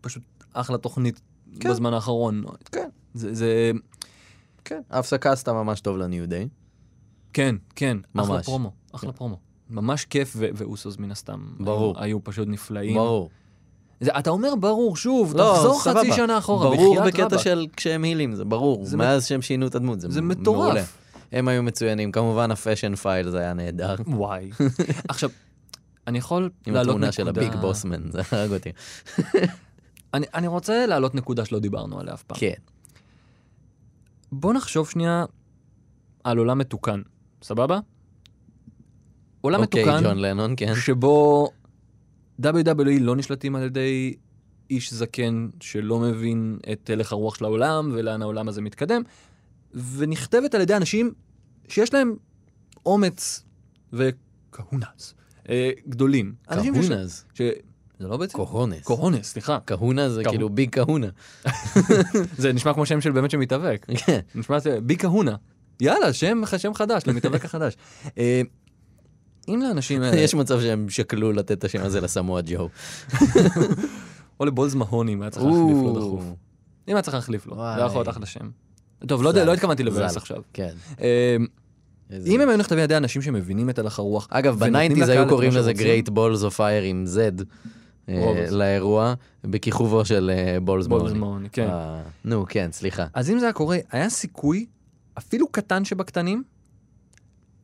S4: פשוט אחלה תוכנית
S5: כן.
S4: בזמן האחרון.
S5: כן.
S4: זה- זה...
S5: כן. ההפסקה עשתה ממש טוב לניו דיי.
S4: כן, כן, אחלה
S5: ממש.
S4: פרומו, אחלה פרומו. ממש כיף, ו- ואוסוס מן הסתם.
S5: ברור.
S4: היו, היו פשוט נפלאים.
S5: ברור.
S4: זה, אתה אומר ברור, שוב, לא, תחזור סבבה. חצי שנה אחורה,
S5: ברור
S4: בחייאת
S5: בקטע
S4: רבאק.
S5: של כשהם הילים, זה ברור.
S4: זה
S5: מאז שהם שינו את הדמות, זה
S4: זה
S5: מ-
S4: מטורף.
S5: מעולה. הם היו מצוינים, כמובן הפאשן פייל זה היה
S4: <laughs>
S5: נהדר. <laughs>
S4: וואי. עכשיו, אני יכול
S5: עם
S4: להעלות נקודה... אה.
S5: התמונה של הביג בוסמן, זה הרג אותי.
S4: אני, אני רוצה להעלות נקודה שלא דיברנו עליה אף פעם.
S5: כן.
S4: בוא נחשוב שנייה על עולם מתוקן, סבבה? עולם
S5: אוקיי,
S4: מתוקן,
S5: ג'ון לנון, כן.
S4: שבו WWE לא נשלטים על ידי איש זקן שלא מבין את הלך הרוח של העולם ולאן העולם הזה מתקדם, ונכתבת על ידי אנשים שיש להם אומץ וכהונס אה, גדולים. <laughs> אנשים שיש-
S5: כהונז.
S4: ש... זה לא בעצם? אה,
S5: כהונס.
S4: כהונס, סליחה.
S5: כהונה זה
S4: כהו-
S5: כאילו ביג כהונה.
S4: זה נשמע כמו שם של באמת <laughs> שמתאבק.
S5: כן.
S4: נשמע זה בי כהונה. יאללה, שם, שם <laughs> חדש, למתאבק החדש. אה, אם לאנשים האלה,
S5: יש מצב שהם שקלו לתת את השם הזה לסמואה ג'ו.
S4: או לבולז מהוני, אם היה צריך להחליף לו דחוף.
S5: או,
S4: אם היה צריך להחליף לו,
S5: וואי.
S4: זה היה יכול להיות אחלה שם. טוב, לא יודע,
S5: ז"ל,
S4: לא התכוונתי לבאס
S5: ז"ל.
S4: עכשיו.
S5: כן.
S4: אה,
S5: איזה-
S4: אם הם היו נכתבים על ידי אנשים שמבינים את הלך הרוח,
S5: אגב,
S4: ונותנים
S5: בניינטיז
S4: לקהל את
S5: היו
S4: מה
S5: קוראים לזה
S4: שרוצים.
S5: Great Balls of Fire עם Z אה,
S4: רובוס.
S5: לאירוע, בכיכובו של אה, בולס
S4: בולז
S5: מורני.
S4: מהוני, כן.
S5: אה, נו, כן, סליחה.
S4: אז אם זה היה קורה, היה סיכוי, אפילו קטן שבקטנים,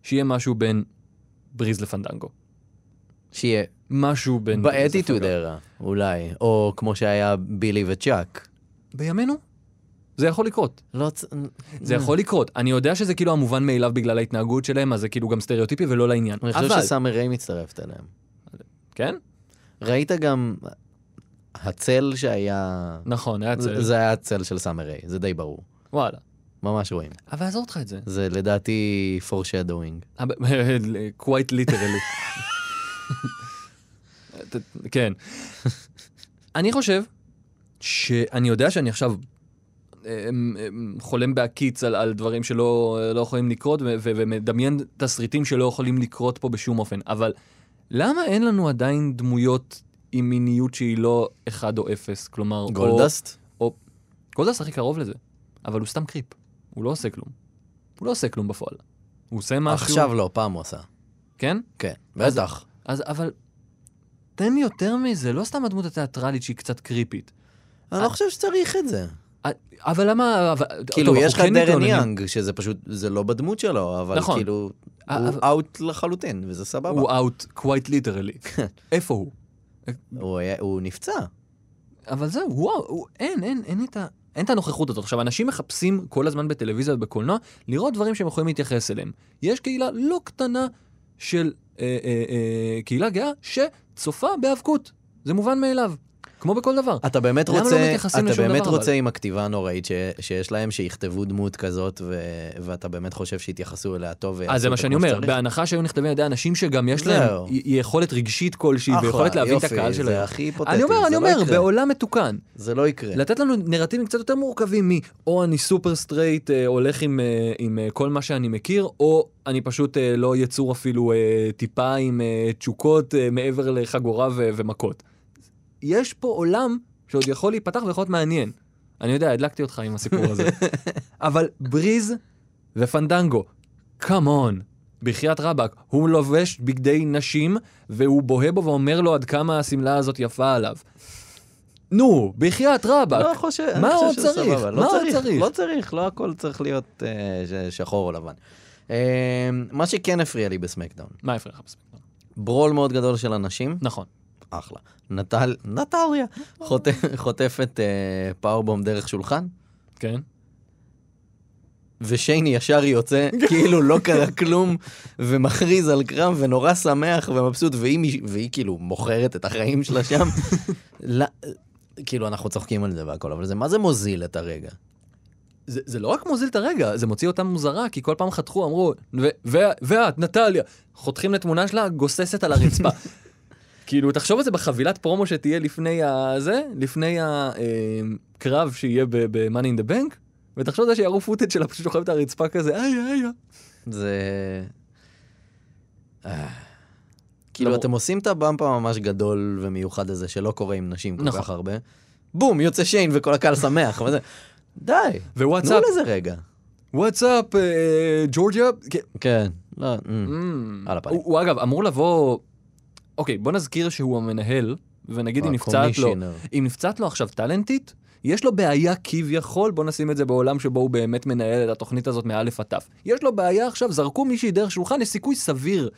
S4: שיהיה משהו בין בריז לפנדנגו.
S5: שיהיה
S4: משהו בין... בריז
S5: באטיטוד
S4: לפנדנגו.
S5: ארה, אולי, או כמו שהיה בילי וצ'אק.
S4: בימינו? זה יכול לקרות.
S5: לא צ...
S4: זה יכול לקרות. אני יודע שזה כאילו המובן מאליו בגלל ההתנהגות שלהם, אז זה כאילו גם סטריאוטיפי ולא לעניין.
S5: אני
S4: אבל...
S5: חושב שסאמר ריי מצטרפת אליהם.
S4: כן?
S5: ראית גם הצל שהיה...
S4: נכון, היה
S5: זה-
S4: צל.
S5: זה היה הצל של סאמר ריי, זה די ברור.
S4: וואלה.
S5: ממש רואים.
S4: אבל עזוב אותך את זה.
S5: זה לדעתי foreshadowing.
S4: <laughs> quite literally. ת- כן. אני חושב שאני יודע שאני עכשיו אה, אמ, אמ, חולם בהקיץ על, על דברים שלא לא יכולים לקרות ו- ו- ומדמיין תסריטים שלא יכולים לקרות פה בשום אופן, אבל למה אין לנו עדיין דמויות עם מיניות שהיא לא אחד או אפס? כלומר, או-
S5: גולדסט?
S4: גולדס הכי קרוב לזה, אבל הוא סתם קריפ, הוא לא עושה כלום. הוא לא עושה כלום בפועל. הוא עושה משהו,
S5: עכשיו לא, פעם הוא עשה.
S4: כן?
S5: כן,
S4: אז-
S5: בטח.
S4: אז אבל תן לי יותר מזה, לא סתם הדמות התיאטרלית שהיא קצת קריפית.
S5: אני לא חושב שצריך את זה.
S4: אבל למה... אבל-
S5: כאילו,
S4: לא, טוב,
S5: יש לך
S4: אנחנו
S5: את
S4: כן
S5: דרן
S4: מתלוננים.
S5: יאנג, שזה פשוט, זה לא בדמות שלו, אבל
S4: נכון.
S5: כאילו,
S4: אה,
S5: הוא
S4: אבל-
S5: אאוט לחלוטין, וזה סבבה.
S4: הוא אאוט quite
S5: <laughs>
S4: literally. איפה הוא?
S5: הוא היה- הוא נפצע.
S4: אבל זהו, וואו, הוא- אין, אין, אין את ה... אין את הנוכחות הזאת. עכשיו, אנשים מחפשים כל הזמן בטלוויזיה ובקולנוע לראות דברים שהם יכולים להתייחס אליהם. יש קהילה לא קטנה של אה, אה, אה, קהילה גאה שצופה בהיאבקות. זה מובן מאליו, כמו בכל דבר.
S5: אתה באמת
S4: למה לא
S5: רוצה,
S4: מתייחסים
S5: אתה
S4: לשום
S5: באמת
S4: דבר,
S5: רוצה עם הכתיבה הנוראית ש- שיש להם, שיכתבו דמות כזאת, ו- ואתה באמת חושב שיתייחסו אליה טוב.
S4: אז אה, זה
S5: ויעשו
S4: מה
S5: אותה
S4: שאני
S5: כמו
S4: אומר,
S5: שצריך?
S4: בהנחה שהיו נכתבים על ידי אנשים שגם יש
S5: זהו.
S4: להם י- יכולת רגשית כלשהי
S5: אחלה,
S4: ויכולת להבין את
S5: יופי,
S4: הקהל
S5: זה
S4: שלהם.
S5: הכי היפותטי,
S4: אני אומר,
S5: זה
S4: אני
S5: לא
S4: אומר,
S5: יקרה.
S4: בעולם מתוקן,
S5: זה לא יקרה.
S4: לתת לנו נרטיבים קצת יותר מורכבים מ"או אני סופר סטרייט, אה, הולך עם, אה, עם אה, כל מה שאני מכיר", או "אני פשוט אה, לא יצור אפילו אה, טיפה עם אה, תשוקות אה, מעבר לחגורה ו- ומכות". יש פה עולם שעוד יכול להיפתח ויכול להיות מעניין. אני יודע, הדלקתי אותך עם הסיפור
S5: <laughs>
S4: הזה. אבל בריז ופנדנגו, קאמון. בחייאת רבאק, הוא לובש בגדי נשים, והוא בוהה בו ואומר לו עד כמה השמלה הזאת יפה עליו. נו, בחייאת רבאק.
S5: לא חושב, אני
S4: מה
S5: חושב
S4: עוד
S5: שזה
S4: צריך?
S5: סבבה.
S4: מה
S5: לא
S4: עוד
S5: צריך?
S4: צריך?
S5: לא צריך, לא הכל צריך להיות אה, ש- שחור או לבן. אה, מה שכן הפריע לי בסמקדאון,
S4: מה לא. הפריע לך בסמקדאון?
S5: ברול מאוד גדול של אנשים,
S4: נכון.
S5: אחלה. נטל, נטליה, חוטפ- חוטפת אה, פאורבום דרך שולחן,
S4: כן.
S5: ושייני ישר
S4: <laughs>
S5: יוצא, כאילו לא קרה כלום, ומכריז על קרב, ונורא שמח ומבסוט, והיא, מש- והיא כאילו מוכרת את החיים שלה שם.
S4: <laughs>
S5: לא- כאילו, אנחנו צוחקים על זה והכל, אבל זה מה זה מוזיל את הרגע?
S4: זה, זה לא רק מוזיל את הרגע, זה מוציא אותם מוזרה, כי כל פעם חתכו, אמרו, ו- ו- ואת, נטליה, חותכים לתמונה שלה, גוססת על
S5: <laughs>
S4: הרצפה. כאילו, תחשוב על זה בחבילת פרומו שתהיה לפני הזה, לפני הקרב שיהיה ב- ב-Money in the Bank, ותחשוב על זה שיראו פוטג' שלה פשוט שוכבת על הרצפה כזה, איי, איי, איי.
S5: זה... אה. כאילו,
S4: למור-
S5: אתם עושים את הבאמפ הממש גדול ומיוחד הזה, שלא קורה עם נשים כל
S4: נכון.
S5: כך הרבה. בום, יוצא שיין וכל הקהל שמח. וזה- די, תנו
S4: ווואטסאפ,
S5: לזה רגע.
S4: וואטסאפ, אה, ג'ורג'יה, כן,
S5: כן, לא, אמ.
S4: Mm.
S5: על הפנים.
S4: הוא, הוא אגב אמור לבוא, אוקיי בוא נזכיר שהוא המנהל, ונגיד אם נפצעת לו,
S5: הקומישיונר.
S4: אם נפצעת לו עכשיו טאלנטית, יש לו בעיה כביכול, בוא נשים את זה בעולם שבו הוא באמת מנהל את התוכנית הזאת מאלף עד תף. יש לו בעיה עכשיו, זרקו מישהי דרך שולחן, יש סיכוי סביר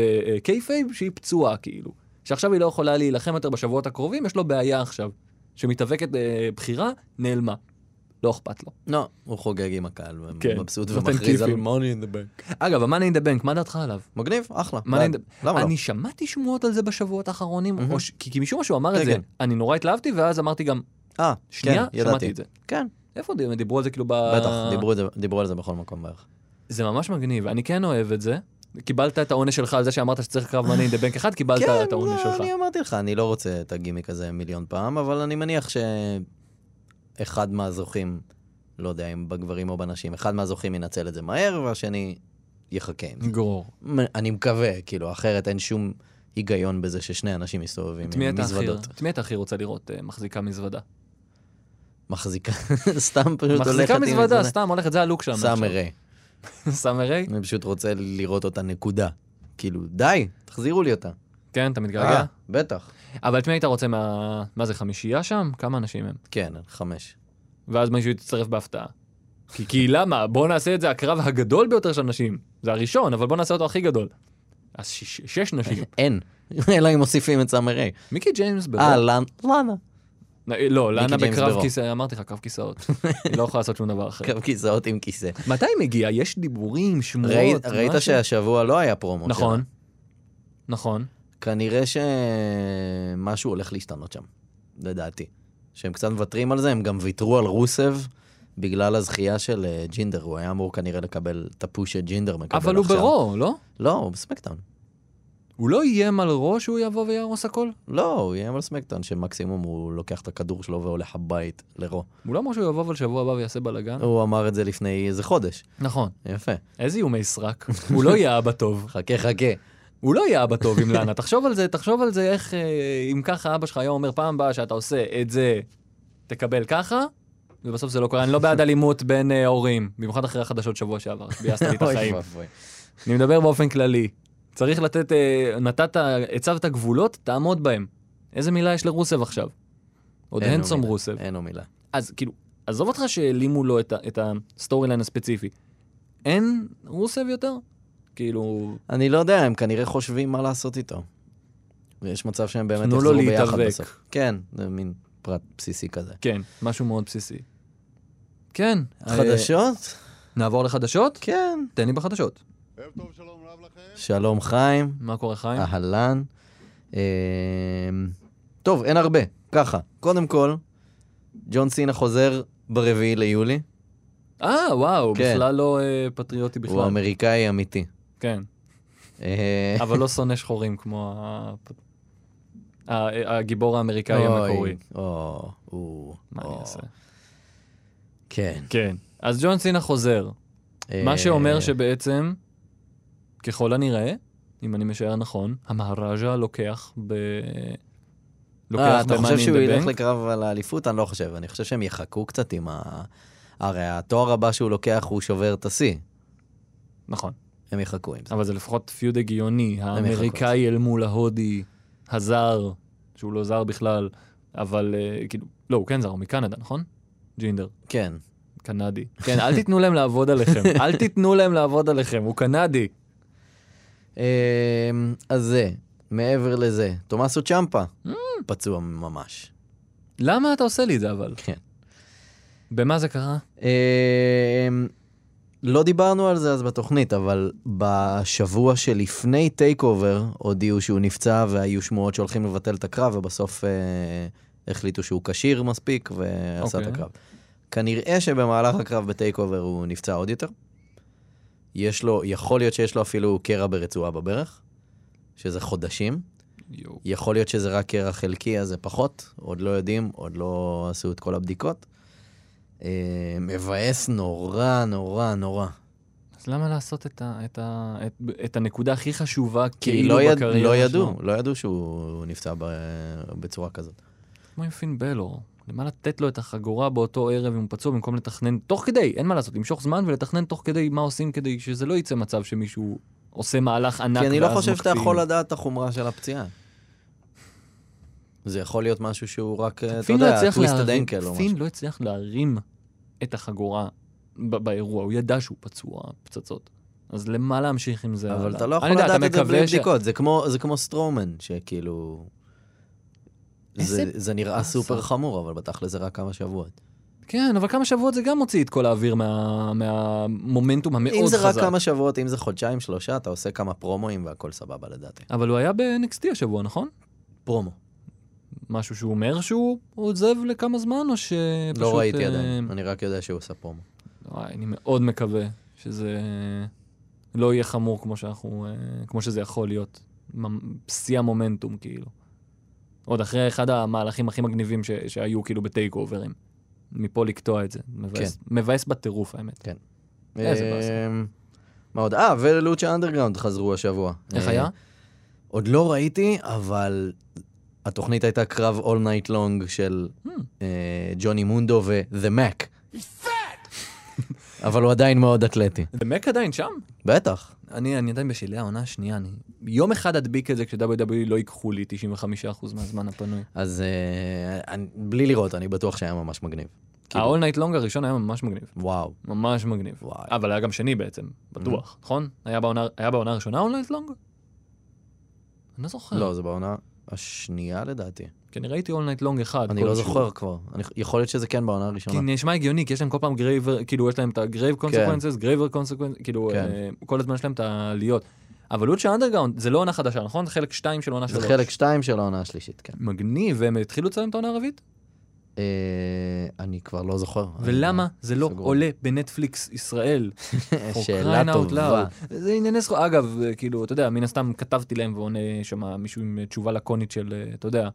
S4: בקייפייב שהיא פצועה כאילו. שעכשיו היא לא יכולה להילחם יותר בשבועות הקרובים, יש לו בעיה עכשיו. שמתאבקת אה, בחירה, נעלמה. לא אכפת לו.
S5: לא, הוא חוגג עם הקהל,
S4: כן,
S5: מבסוט
S4: נותן
S5: ומכריז על
S4: כיפים.
S5: money in the bank.
S4: אגב, המאני אין דה בנק, מה דעתך עליו?
S5: מגניב, אחלה.
S4: מה
S5: בעד.
S4: אני-
S5: למה לא?
S4: אני שמעתי שמועות על זה בשבועות האחרונים,
S5: מהמם.
S4: או ש- כי כי משום מה שהוא אמר את
S5: כן,
S4: זה,
S5: כן.
S4: אני נורא התלהבתי, ואז אמרתי גם,
S5: אה,
S4: שנייה,
S5: כן, ידעתי.
S4: שמעתי את זה.
S5: כן,
S4: איפה די- דיברו על זה כאילו ב...
S5: בטח, דיברו את זה- דיברו על זה בכל מקום בערך.
S4: זה ממש מגניב, אני כן אוהב את זה. קיבלת את העונש שלך על זה שאמרת שצריך קרב מאני אין דה בנק אחד, קיבלת
S5: כן,
S4: את העונש
S5: לא,
S4: שלך.
S5: אני אמרתי לך, אני לא רוצה את הגימיק הזה מיליון פעם, אבל אני מניח שאחד מהזוכים, לא יודע אם בגברים או בנשים, אחד מהזוכים ינצל את זה מהר, והשני יחכה עם זה.
S4: גרור.
S5: מ- אני מקווה, כאילו, אחרת אין שום היגיון בזה ששני אנשים מסתובבים
S4: את מי
S5: עם
S4: אתה הכי-
S5: מזוודות.
S4: את מי אתה הכי רוצה לראות אה, מחזיקה מזוודה?
S5: מחזיקה, <laughs> סתם פשוט הולכת עם
S4: מחזיקה מזוודה, סתם הולכת, זה הלוק שם. עכשיו.
S5: סאמרי.
S4: סאמרי?
S5: אני פשוט רוצה לראות אותה נקודה. כאילו, די, תחזירו לי אותה.
S4: כן, אתה מתגעגע.
S5: אה, בטח.
S4: אבל את מי היית רוצה מה... מה זה, חמישייה שם? כמה אנשים הם?
S5: כן, חמש.
S4: ואז מישהו יצטרף בהפתעה. כי, כי למה? בוא נעשה את זה הקרב הגדול ביותר של נשים. זה הראשון, אבל בוא נעשה אותו הכי גדול. אז שש, שש נשים.
S5: אין. <laughs> אלא אם מוסיפים את סאמרי.
S4: <laughs> מיקי ג'יימס ברוב.
S5: אה, לאן- לאנה.
S4: נ- לא, לאנה
S5: ג'יימס
S4: בקרב
S5: ברוב.
S4: כיסאות, אמרתי לך, קרב כיסאות. היא לא יכולה לעשות שום דבר אחר.
S5: קו כיסאות עם כיסא.
S4: <laughs> מתי היא מגיעה? יש דיבורים, שמועות,
S5: ראית- ראית
S4: לא, משהו?
S5: שהשבוע לא היה פרומו
S4: נכון.
S5: שלה.
S4: נכון.
S5: כנראה שמשהו הולך להשתנות שם, לדעתי. שהם קצת מוותרים על זה, הם גם ויתרו על רוסב בגלל הזכייה של אה, ג'ינדר. הוא היה אמור כנראה לקבל את הפוש שג'ינדר מקבל עכשיו.
S4: אבל הוא ברו, לא?
S5: לא, הוא בסמקדאון.
S4: הוא לא איים על ראש שהוא יבוא ויהרוס הכל?
S5: לא, הוא יהיה על סמקדאון, שמקסימום הוא לוקח את הכדור שלו והולך הבית לרו.
S4: הוא לא אמר שהוא יבוא אבל שבוע הבא ויעשה בלאגן?
S5: הוא אמר את זה לפני איזה חודש.
S4: נכון.
S5: יפה.
S4: איזה איומי סרק. הוא לא יהיה אבא טוב.
S5: חכה, חכה.
S4: הוא לא יהיה אבא טוב עם לאנה. תחשוב על זה, תחשוב על זה איך, אה, אם ככה אבא שלך היה אומר פעם הבאה שאתה עושה את זה, תקבל ככה, ובסוף זה לא קורה. אני לא
S5: <laughs>
S4: בעד אלימות בין אה, הורים, במיוחד אחרי החדשות שבוע שעבר, שביאסת לי את החיים.
S5: אוי ואבוי.
S4: אני מדבר באופן כללי. צריך לתת, אה, נתת, הצבת גבולות, תעמוד בהם. איזה מילה יש לרוסב עכשיו? עוד
S5: אין לו
S4: הנסום
S5: מילה,
S4: רוסב.
S5: אין לו מילה.
S4: אז כאילו, עזוב אותך שהעלימו לו את, ה- את הסטורי ליין הספציפי. אין רוסב יותר? כאילו,
S5: אני לא יודע, הם כנראה חושבים מה לעשות איתו. ויש מצב שהם באמת
S4: תנו לו
S5: יחזרו ביחד
S4: להתאבק.
S5: בסוף. כן, זה מין פרט בסיסי כזה.
S4: כן, משהו מאוד בסיסי. כן.
S5: חדשות?
S4: אה, נעבור לחדשות?
S5: כן.
S4: תן לי בחדשות.
S2: ערב טוב, שלום רב לכם.
S5: שלום חיים,
S4: מה קורה חיים?
S5: אה. אהלן. אמ, טוב, אין הרבה, ככה. קודם כל, ג'ון סינה חוזר ברביעי ליולי.
S4: אה, וואו,
S5: כן.
S4: בכלל לא אה, פטריוטי
S5: הוא
S4: בכלל.
S5: אמריקאי אמיתי.
S4: כן,
S5: אה,
S4: אבל לא שונא שחורים כמו ה- ה- הגיבור האמריקאי
S5: אוי,
S4: המקורי.
S5: או, או,
S4: מה אני
S5: או.
S4: אעשה?
S5: כן.
S4: כן. אז ג'ון סינה חוזר, מה
S5: אה,
S4: שאומר שבעצם, ככל הנראה, אם אני משער נכון, המהראז'ה לוקח ב...
S5: אה,
S4: לוקח
S5: אתה
S4: במאני
S5: חושב שהוא
S4: אין דה
S5: ילך
S4: בנק.
S5: לקרב על האליפות? אני לא חושב. אני חושב שהם יחכו קצת עם ה... הרי התואר הבא שהוא לוקח הוא שובר את השיא.
S4: נכון,
S5: הם יחכו עם זה.
S4: אבל זה לפחות פיוד הגיוני,
S5: מחכות.
S4: האמריקאי אל מול ההודי, הזר, שהוא לא זר בכלל, אבל אה, כאילו, לא, הוא כן זר, הוא מקנדה, נכון? ג'ינדר,
S5: כן.
S4: קנדי. כן, אל תיתנו להם לעבוד <laughs> עליכם, אל תיתנו להם לעבוד עליכם, הוא קנדי.
S5: אמ, אז זה, מעבר לזה, תומאסו צ'מפה, פצוע ממש.
S4: למה אתה עושה לי את זה אבל?
S5: כן.
S4: במה זה קרה?
S5: אמ, לא דיברנו על זה אז בתוכנית, אבל בשבוע שלפני טייק אובר הודיעו שהוא נפצע והיו שמועות שהולכים לבטל את הקרב, ובסוף אה, החליטו שהוא כשיר מספיק ועשה את
S4: אוקיי.
S5: הקרב. כנראה שבמהלך הקרב בטייק אובר הוא נפצע עוד יותר. יש לו, יכול להיות שיש לו אפילו קרע ברצועה בברך, שזה חודשים.
S3: יואו.
S5: יכול להיות שזה רק קרע חלקי, אז זה פחות, עוד לא יודעים, עוד לא עשו את כל הבדיקות. אה, מבאס נורא, נורא, נורא.
S4: אז למה לעשות את, ה, את, ה, את, את הנקודה הכי חשובה
S5: כי
S4: כאילו
S5: לא, יד,
S4: בקריירה שלו?
S5: לא ידעו, לא ידעו שהוא נפצע ב, בצורה כזאת.
S4: כמו עם פין בלור. למה לתת לו את החגורה באותו ערב אם הוא פצוע במקום לתכנן תוך כדי, אין מה לעשות, למשוך זמן ולתכנן תוך כדי מה עושים כדי שזה לא יצא מצב שמישהו עושה מהלך ענק
S5: כי אני לא
S4: ואז
S5: חושב שאתה
S4: מקפיאים.
S5: יכול לדעת את החומרה של הפציעה. זה יכול להיות משהו שהוא רק, אה, אתה
S4: פין לא
S5: יודע,
S4: הצליח
S5: טוויסטד
S4: להרים-
S5: אנקל או משהו.
S4: פין לא הצליח להרים את החגורה ב- באירוע, הוא ידע שהוא פצוע פצצות. אז למה להמשיך עם זה?
S5: אבל
S4: הלאה?
S5: אתה לא
S4: אני
S5: יכול
S4: יודע, אתה
S5: לדעת את זה
S4: מקווה
S5: בלי
S4: ש-
S5: בדיקות, זה כמו- זה כמו סטרומן, שכאילו...
S4: איזה
S5: זה- זה נראה
S4: באסה. אה,
S5: סופר חמור, אבל בתכל'ס זה רק כמה שבועות.
S4: כן, אבל כמה שבועות זה גם מוציא את כל האוויר מה- מהמומנטום המאוד
S5: אם זה רק
S4: חזק.
S5: כמה שבועות, אם זה חודשיים, שלושה, אתה עושה כמה פרומואים והכל סבבה לדעתי.
S4: אבל הוא היה ב-NXT השבוע, נכון?
S5: פרומו.
S4: משהו שהוא אומר שהוא עוזב לכמה זמן, או שפשוט...
S5: לא ראיתי
S4: אה,
S5: עדיין, אני רק יודע שהוא עושה פרומו.
S4: וואי, אני מאוד מקווה שזה לא יהיה חמור כמו שאנחנו, אה, כמו שזה יכול להיות. ממ- שיא המומנטום, כאילו. עוד אחרי אחד המהלכים הכי מגניבים ש- שהיו כאילו בטייק אוברים. מפה לקטוע את זה. מבאס, מבאס בטירוף, האמת. איזה באסה.
S5: אמ, מה עוד? אה, ולוצ'ה אנדרגראונד חזרו השבוע.
S4: איך
S5: אה,
S4: היה?
S5: עוד לא ראיתי, אבל התוכנית הייתה קרב All Night Long של
S4: Hmm.
S5: אה, ג'וני מונדו ו-The Mac. אבל הוא עדיין מאוד אתלטי.
S4: ומק עדיין שם?
S5: בטח.
S4: אני, אני עדיין בשלהי העונה השנייה, אני יום אחד אדביק את זה כש-WWE לא ייקחו לי 95% מהזמן הפנוי.
S5: אז אה, אני- בלי לראות, אני בטוח שהיה ממש מגניב. כאילו.
S4: ה-all night long הראשון היה ממש מגניב.
S5: וואו.
S4: ממש מגניב.
S5: וואי. Mm-hmm.
S4: אבל היה גם שני בעצם, בטוח, נכון? היה בעונה- היה בעונה הראשונה all night long? אני לא זוכר.
S5: לא, זה בעונה השנייה לדעתי.
S4: כי אני ראיתי all night long אחד.
S5: אני לא
S4: כלשהו.
S5: זוכר כבר. אני- יכול להיות שזה כן בעונה
S4: כי
S5: הראשונה.
S4: נשמע הגיוני, כי יש להם כל פעם גרייבר, כאילו יש להם את הגרייב קונסקוונסס, גרייבר קונסקוונסס, כאילו
S5: כן.
S4: אה, כל הזמן יש להם את העליות. אבל לוצ'ה אנדרגאונד זה לא עונה חדשה, נכון? חלק 2 של עונה
S5: זה
S4: 3.
S5: חלק 2 של העונה השלישית, כן.
S4: מגניב, והם התחילו לצלם את העונה הרביעית?
S5: אה, אני כבר לא זוכר. <laughs>
S4: ולמה זה לא
S5: סגור.
S4: עולה בנטפליקס ישראל?
S5: אה,
S4: For crying
S5: שאלה
S4: out
S5: טובה.
S4: loud. זה ענייני זכות, אגב, אה, כאילו, אתה יודע, מן הסתם כתבתי להם ועונה שם מישהו עם אה, תשובה לקונית של, אה, אתה יודע,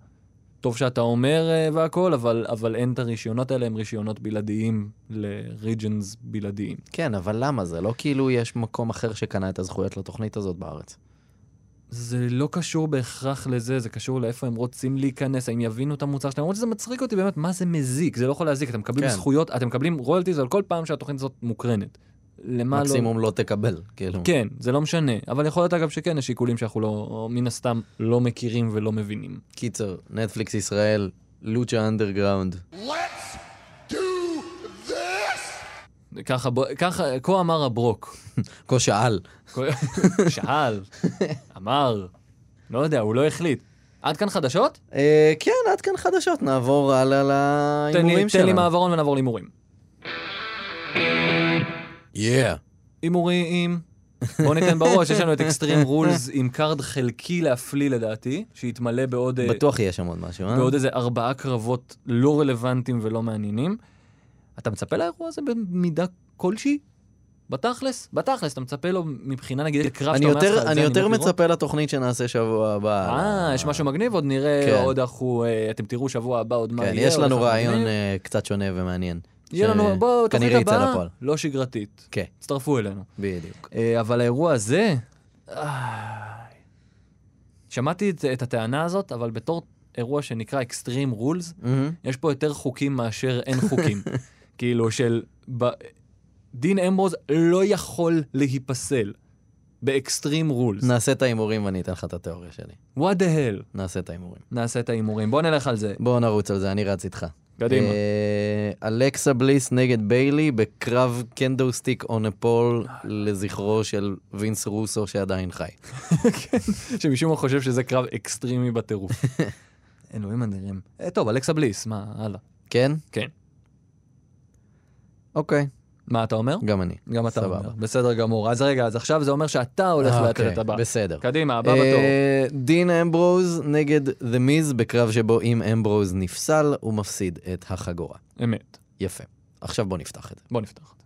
S4: טוב שאתה אומר אה, והכל, אבל, אבל אין את הרישיונות האלה, הם רישיונות בלעדיים ל-regions בלעדיים.
S5: כן, אבל למה זה? לא כאילו יש מקום אחר שקנה את הזכויות לתוכנית הזאת בארץ.
S4: זה לא קשור בהכרח לזה, זה קשור לאיפה הם רוצים להיכנס, האם יבינו את המוצר שלהם, למרות שזה מצחיק אותי באמת, מה זה מזיק? זה לא יכול להזיק, אתם מקבלים
S5: כן.
S4: זכויות, אתם מקבלים רויאלטיז על כל פעם שהתוכנית הזאת מוקרנת. למה לא...
S5: מקסימום לא תקבל, כאילו.
S4: כן, זה לא משנה. אבל יכול להיות אגב שכן, יש שיקולים שאנחנו לא, מן הסתם לא מכירים ולא מבינים.
S5: קיצר, נטפליקס ישראל, לוצ'ה אנדרגראונד.
S4: ככה, בו- ככה, כה אמר הברוק.
S5: כה שאל. <laughs>
S4: כה- שאל, אמר, לא יודע, הוא לא החליט. עד כאן חדשות?
S5: אה, כן, עד כאן חדשות, נעבור הלאה
S4: תן לי,
S5: להימורים
S4: תן לי
S5: שלנו.
S4: מעברון ונעבור להימורים.
S5: Yeah.
S4: הימורים. בוא ניתן בראש, יש
S5: <laughs>
S4: לנו את אקסטרים רולס עם קארד חלקי להפליא לדעתי, שיתמלא בעוד... אה,
S5: בטוח יהיה שם עוד משהו, אה?
S4: בעוד איזה ארבעה קרבות לא רלוונטיים ולא מעניינים. אתה מצפה לאירוע הזה במידה כלשהי? בתכלס? בתכלס, אתה מצפה לו מבחינה נגיד לקרב
S5: אני
S4: שאתה אומר
S5: יותר-
S4: לך, "את זה
S5: אני יותר
S4: מת לראות"?
S5: מצפה לתוכנית שנעשה שבוע הבא.
S4: אה, יש משהו מגניב, עוד נראה,
S5: כן.
S4: עוד אנחנו, אה, אתם תראו שבוע הבא עוד מה
S5: כן,
S4: יהיה.
S5: יש
S4: עוד
S5: לנו
S4: איך אנחנו
S5: רעיון
S4: מגניב.
S5: אה, קצת שונה ומעניין.
S4: יהיה לנו,
S5: ש-
S4: בואו, תוכנית
S5: כנראה יצא
S4: הבאה,
S5: לפועל.
S4: לא שגרתית.
S5: כן,
S4: הצטרפו אלינו.
S5: בדיוק.
S4: אה, אבל האירוע הזה... אה, שמעתי את- את הטענה הזאת, אבל בתור אירוע שנקרא Extreme Rules,
S5: מהמם.
S4: יש פה יותר חוקים מאשר אין
S5: <laughs>
S4: חוקים. כאילו של... ב... דין אמברוז לא יכול להיפסל באקסטרים רולס.
S5: נעשה את ההימורים ואני אתן לך את התיאוריה שלי.
S4: What the hell?
S5: נעשה את ההימורים.
S4: נעשה את ההימורים. בוא נלך על זה.
S5: בואו נרוץ על זה, אני רץ איתך.
S4: קדימה.
S5: אה, אלכסה בליס נגד ביילי בקרב קנדו סטיק און אפול לזכרו של וינס רוסו שעדיין חי.
S4: שמשום מה חושב שזה קרב אקסטרימי בטירוף. <laughs> אלוהים אדירים. אה, טוב, אלכסה בליס, מה, הלאה.
S5: כן?
S4: כן.
S5: אוקיי,
S4: מה אתה אומר?
S5: גם אני.
S4: גם אתה
S5: סבבה.
S4: אומר. בסדר גמור. אז רגע, אז עכשיו זה אומר שאתה הולך
S5: אה,
S4: לתת
S5: אוקיי,
S4: את הבא.
S5: בסדר.
S4: קדימה, הבא בתור.
S5: אה, דין אמברוז נגד The Miz בקרב שבו אם אמברוז נפסל, הוא מפסיד את החגורה.
S4: אמת.
S5: יפה. עכשיו בוא נפתח את זה.
S4: בוא <laughs> נפתח את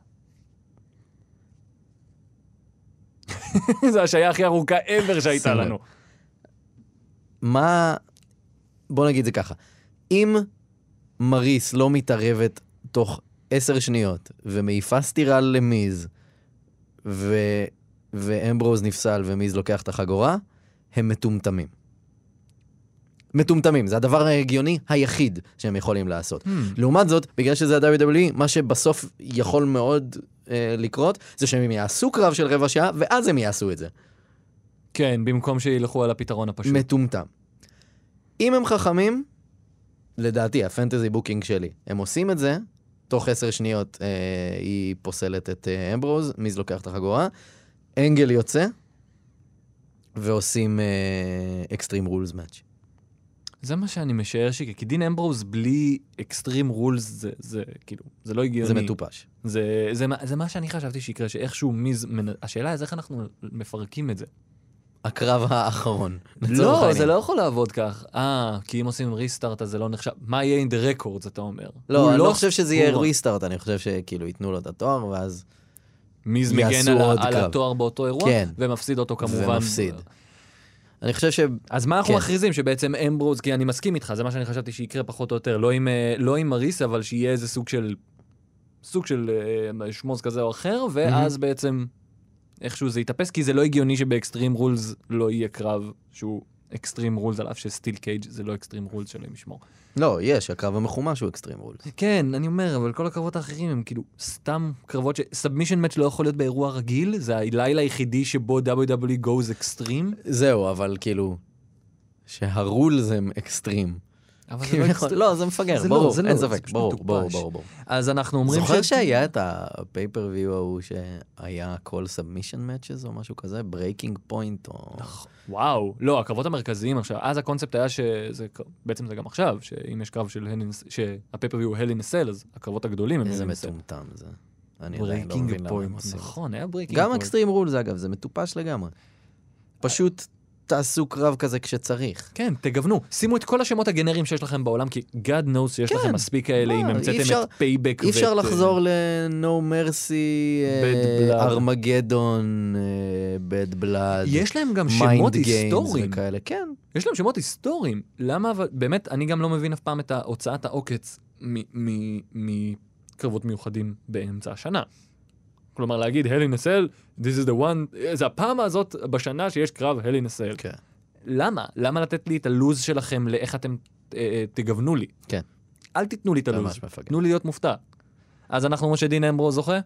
S4: זה. זו השעיה הכי ארוכה ever שהייתה
S5: שים לב.
S4: לנו.
S5: מה... בוא נגיד זה ככה. אם מריס לא מתערבת תוך עשר שניות ומעיפה סטירה למיז, ו... ואמברוז נפסל ומיז לוקח את החגורה, הם מטומטמים. מטומטמים, זה הדבר ההגיוני היחיד שהם יכולים לעשות.
S4: Hmm.
S5: לעומת זאת, בגלל שזה ה-WWE, מה שבסוף יכול מאוד אה, לקרות, זה שהם יעשו קרב של רבע שעה, ואז הם יעשו את זה.
S4: כן, במקום שילכו על הפתרון הפשוט.
S5: מטומטם. אם הם חכמים, לדעתי, הפנטזי בוקינג שלי, הם עושים את זה, תוך עשר שניות אה, היא פוסלת את אה, אמברוז, מיז לוקח את החגורה, אנגל אה, יוצא, ועושים אקסטרים רולס מאץ'.
S4: זה מה שאני משער שיקרה, כי דין אמברוז בלי אקסטרים רולס זה, זה כאילו, זה לא הגיוני.
S5: זה מטופש.
S4: זה, זה, מה- זה מה שאני חשבתי שיקרה, שאיכשהו מיז... מנ... השאלה היא אז איך אנחנו מפרקים את זה.
S5: הקרב האחרון. לצורך
S4: לא,
S5: העניין.
S4: זה לא יכול לעבוד כך. אה, כי אם עושים ריסטארט אז זה לא נחשב. מה יהיה in the records, אתה אומר? הוא
S5: לא, אני לא חושב שזה יהיה
S4: הוא-
S5: ריסטארט, אני חושב שכאילו ייתנו לו את התואר, ואז...
S4: מיז
S5: יעשו
S4: מגן על,
S5: עוד
S4: ה- על
S5: קרב.
S4: התואר באותו אירוע,
S5: כן.
S4: ומפסיד אותו כמובן.
S5: ומפסיד. אני חושב ש...
S4: אז מה אנחנו
S5: כן.
S4: מכריזים? שבעצם אמברוז, כי אני מסכים איתך, זה מה שאני חשבתי שיקרה פחות או יותר. לא עם, אה, לא עם מריס, אבל שיהיה איזה סוג של... סוג של אה, שמוז כזה או אחר, ואז בעצם איכשהו זה יתאפס, כי זה לא הגיוני שבאקסטרים רולס לא יהיה קרב שהוא אקסטרים רולס, על אף שסטיל קייג' זה לא אקסטרים רולס שלהם ישמור.
S5: לא, יש, הקרב המחומש הוא אקסטרים רול.
S4: כן, אני אומר, אבל כל הקרבות האחרים הם כאילו סתם קרבות ש... סאבמישן מאץ' לא יכול להיות באירוע רגיל, זה הלילה היחידי שבו WWE goes extreme,
S5: זהו, אבל כאילו... שהרולס הם אקסטרים.
S4: אבל זה לא
S5: כביכול.
S4: extreme.
S5: לא, <laughs> זה מפגר,
S4: זה לא,
S5: ברור,
S4: זה לא,
S5: אין
S4: זה
S5: ספק,
S4: פשוט
S5: ברור,
S4: מטופש.
S5: ברור, ברור. ברור.
S4: אז אנחנו אומרים
S5: זוכר שהיה את הפייפריוויו ההוא שהיה כל סאבמישן מאצ'ז או משהו כזה? ברייקינג פוינט או...
S4: נכון, וואו, לא, הקרבות המרכזיים עכשיו, אז הקונספט היה שזה, ק- בעצם זה גם עכשיו, שאם יש קרב של הלינס, שהפייפריוויו הוא הלינס סל, אז הקרבות הגדולים הם
S5: איזה
S4: Hell in a Cell.
S5: מטומטם זה. אני עדיין לא מבין
S4: ברייקינג
S5: למה הם
S4: פוינט,
S5: עושים.
S4: נכון, היה ברייקינג
S5: גם
S4: פוינט.
S5: אקסטרים רולס אגב, זה מטופש לגמרי. פשוט תעשו קרב כזה כשצריך.
S4: כן, תגוונו, שימו את כל השמות הגנריים שיש לכם בעולם, כי God knows שיש
S5: כן,
S4: לכם מספיק כאלה,
S5: מה,
S4: אם
S5: אי
S4: המצאתם
S5: אפשר-
S4: את פייבק
S5: אי אפשר
S4: ואת, אה,
S5: לחזור ל-No Mercy,
S4: כן.
S5: אה,
S4: Bad Blood.
S5: ארמגדון, בד בלאד,
S4: יש להם גם שמות
S5: מיינד גיימס
S4: היסטוריים.
S5: וכאלה, כן.
S4: יש להם שמות היסטוריים. למה אבל... באמת, אני גם לא מבין אף פעם את הוצאת העוקץ מ- מ- מקרבות מיוחדים באמצע השנה. כלומר, להגיד, הלי נסל, this is the one, זה הפעם הזאת בשנה שיש קרב הלי נסל.
S5: כן.
S4: למה? למה לתת לי את הלוז שלכם לאיך אתם אה, אה, תגוונו לי?
S5: כן.
S4: אל תיתנו לי את הלוז,
S5: ממש לא. מפגר.
S4: תנו לי להיות מופתע. אז אנחנו אומרים שדין אמברו זוכה?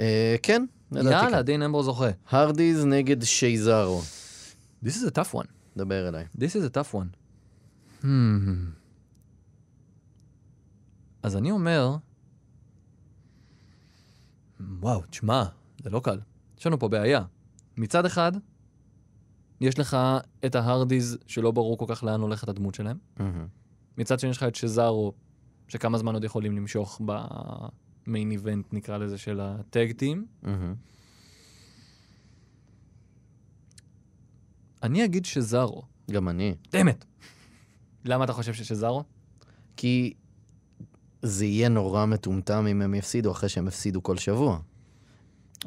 S5: אה, כן, לדעתי
S4: יאללה,
S5: כן.
S4: דין אמברו זוכה.
S5: הרדיז נגד שייזרו,
S4: This is a tough one.
S5: דבר אליי.
S4: This is a tough one. Hmm. אז אני אומר... וואו, תשמע, זה לא קל. יש לנו פה בעיה. מצד אחד, יש לך את ההרדיז שלא ברור כל כך לאן הולכת הדמות שלהם. מצד שני יש לך את שזארו, שכמה זמן עוד יכולים למשוך במיין איבנט, נקרא לזה, של הטאג טים. אני אגיד שזארו.
S5: גם אני.
S4: דמת. למה אתה חושב ששזארו?
S5: כי זה יהיה נורא מטומטם אם הם יפסידו אחרי שהם הפסידו כל שבוע.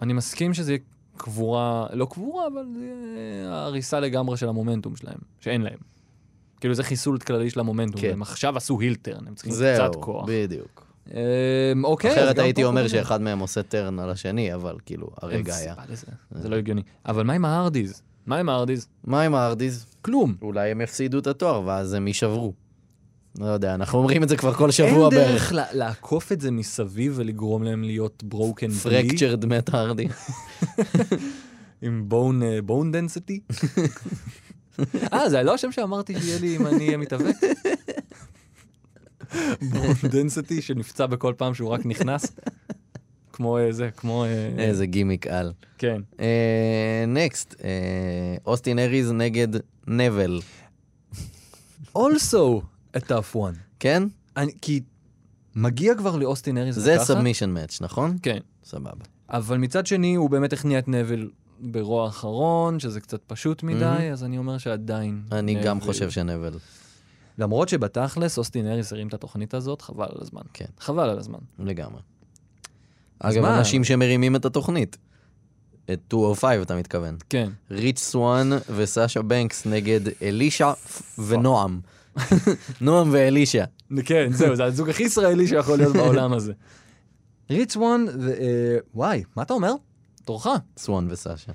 S4: אני מסכים שזה יהיה קבורה, לא קבורה, אבל זה יהיה הריסה לגמרי של המומנטום שלהם, שאין להם. כאילו זה חיסול כללי של המומנטום,
S5: כן.
S4: הם עכשיו עשו הילטרן, הם צריכים
S5: זהו,
S4: קצת כוח.
S5: בדיוק.
S4: אמ, אוקיי. אז
S5: אחרת
S4: גם
S5: הייתי
S4: פה
S5: אומר
S4: קוראים.
S5: שאחד מהם עושה טרן על השני, אבל כאילו, הרגע
S4: אין
S5: היה.
S4: סיבה לזה, זה לא הגיוני. אבל מה עם ההרדיז? מה עם ההרדיז?
S5: מה עם ההרדיז?
S4: כלום.
S5: אולי הם יפסידו את התואר, ואז הם יישברו. לא יודע, אנחנו אומרים את זה כבר כל
S4: אין
S5: שבוע בערך.
S4: דרך לה- לעקוף את זה מסביב ולגרום להם להיות ברוקן בלי,
S5: פרקצ'רד מת הרדי.
S4: עם בון דנסיטי. <laughs> אה, זה לא השם שאמרתי שיהיה לי אם אני אהיה <laughs> מתאבק? בון דנסיטי שנפצע בכל פעם שהוא רק נכנס? כמו אה, זה, כמו... אה,
S5: איזה גימיק על. אה,
S4: כן.
S5: נקסט, אוסטין אריז נגד נבל.
S4: Also a tough one.
S5: כן?
S4: אני- כי מגיע כבר לאוסטין אריס
S5: זה
S4: וככה?
S5: סאבמישן מאץ', נכון?
S4: כן.
S5: סבבה.
S4: אבל מצד שני, הוא באמת הכניע את נבל ברוע האחרון, שזה קצת פשוט מדי,
S5: מהמם.
S4: אז אני אומר שעדיין...
S5: אני גם
S4: נבל-
S5: חושב שנבל.
S4: למרות שבתכלס אוסטין אריס הרים את התוכנית הזאת, חבל על הזמן.
S5: כן.
S4: חבל על הזמן.
S5: לגמרי.
S4: אז
S5: אגב,
S4: מה?
S5: אנשים שמרימים את התוכנית. את 205 אתה מתכוון.
S4: כן.
S5: ריץ' סואן וסאשה בנקס נגד אלישע <laughs> ונועם. נועם ואלישע.
S4: כן, זהו, זה הזוג הכי ישראלי שיכול להיות בעולם
S5: <laughs>
S4: הזה. ריץ' וון, ו- אה, וואי, מה אתה אומר? תורך.
S5: סואן וסאשה.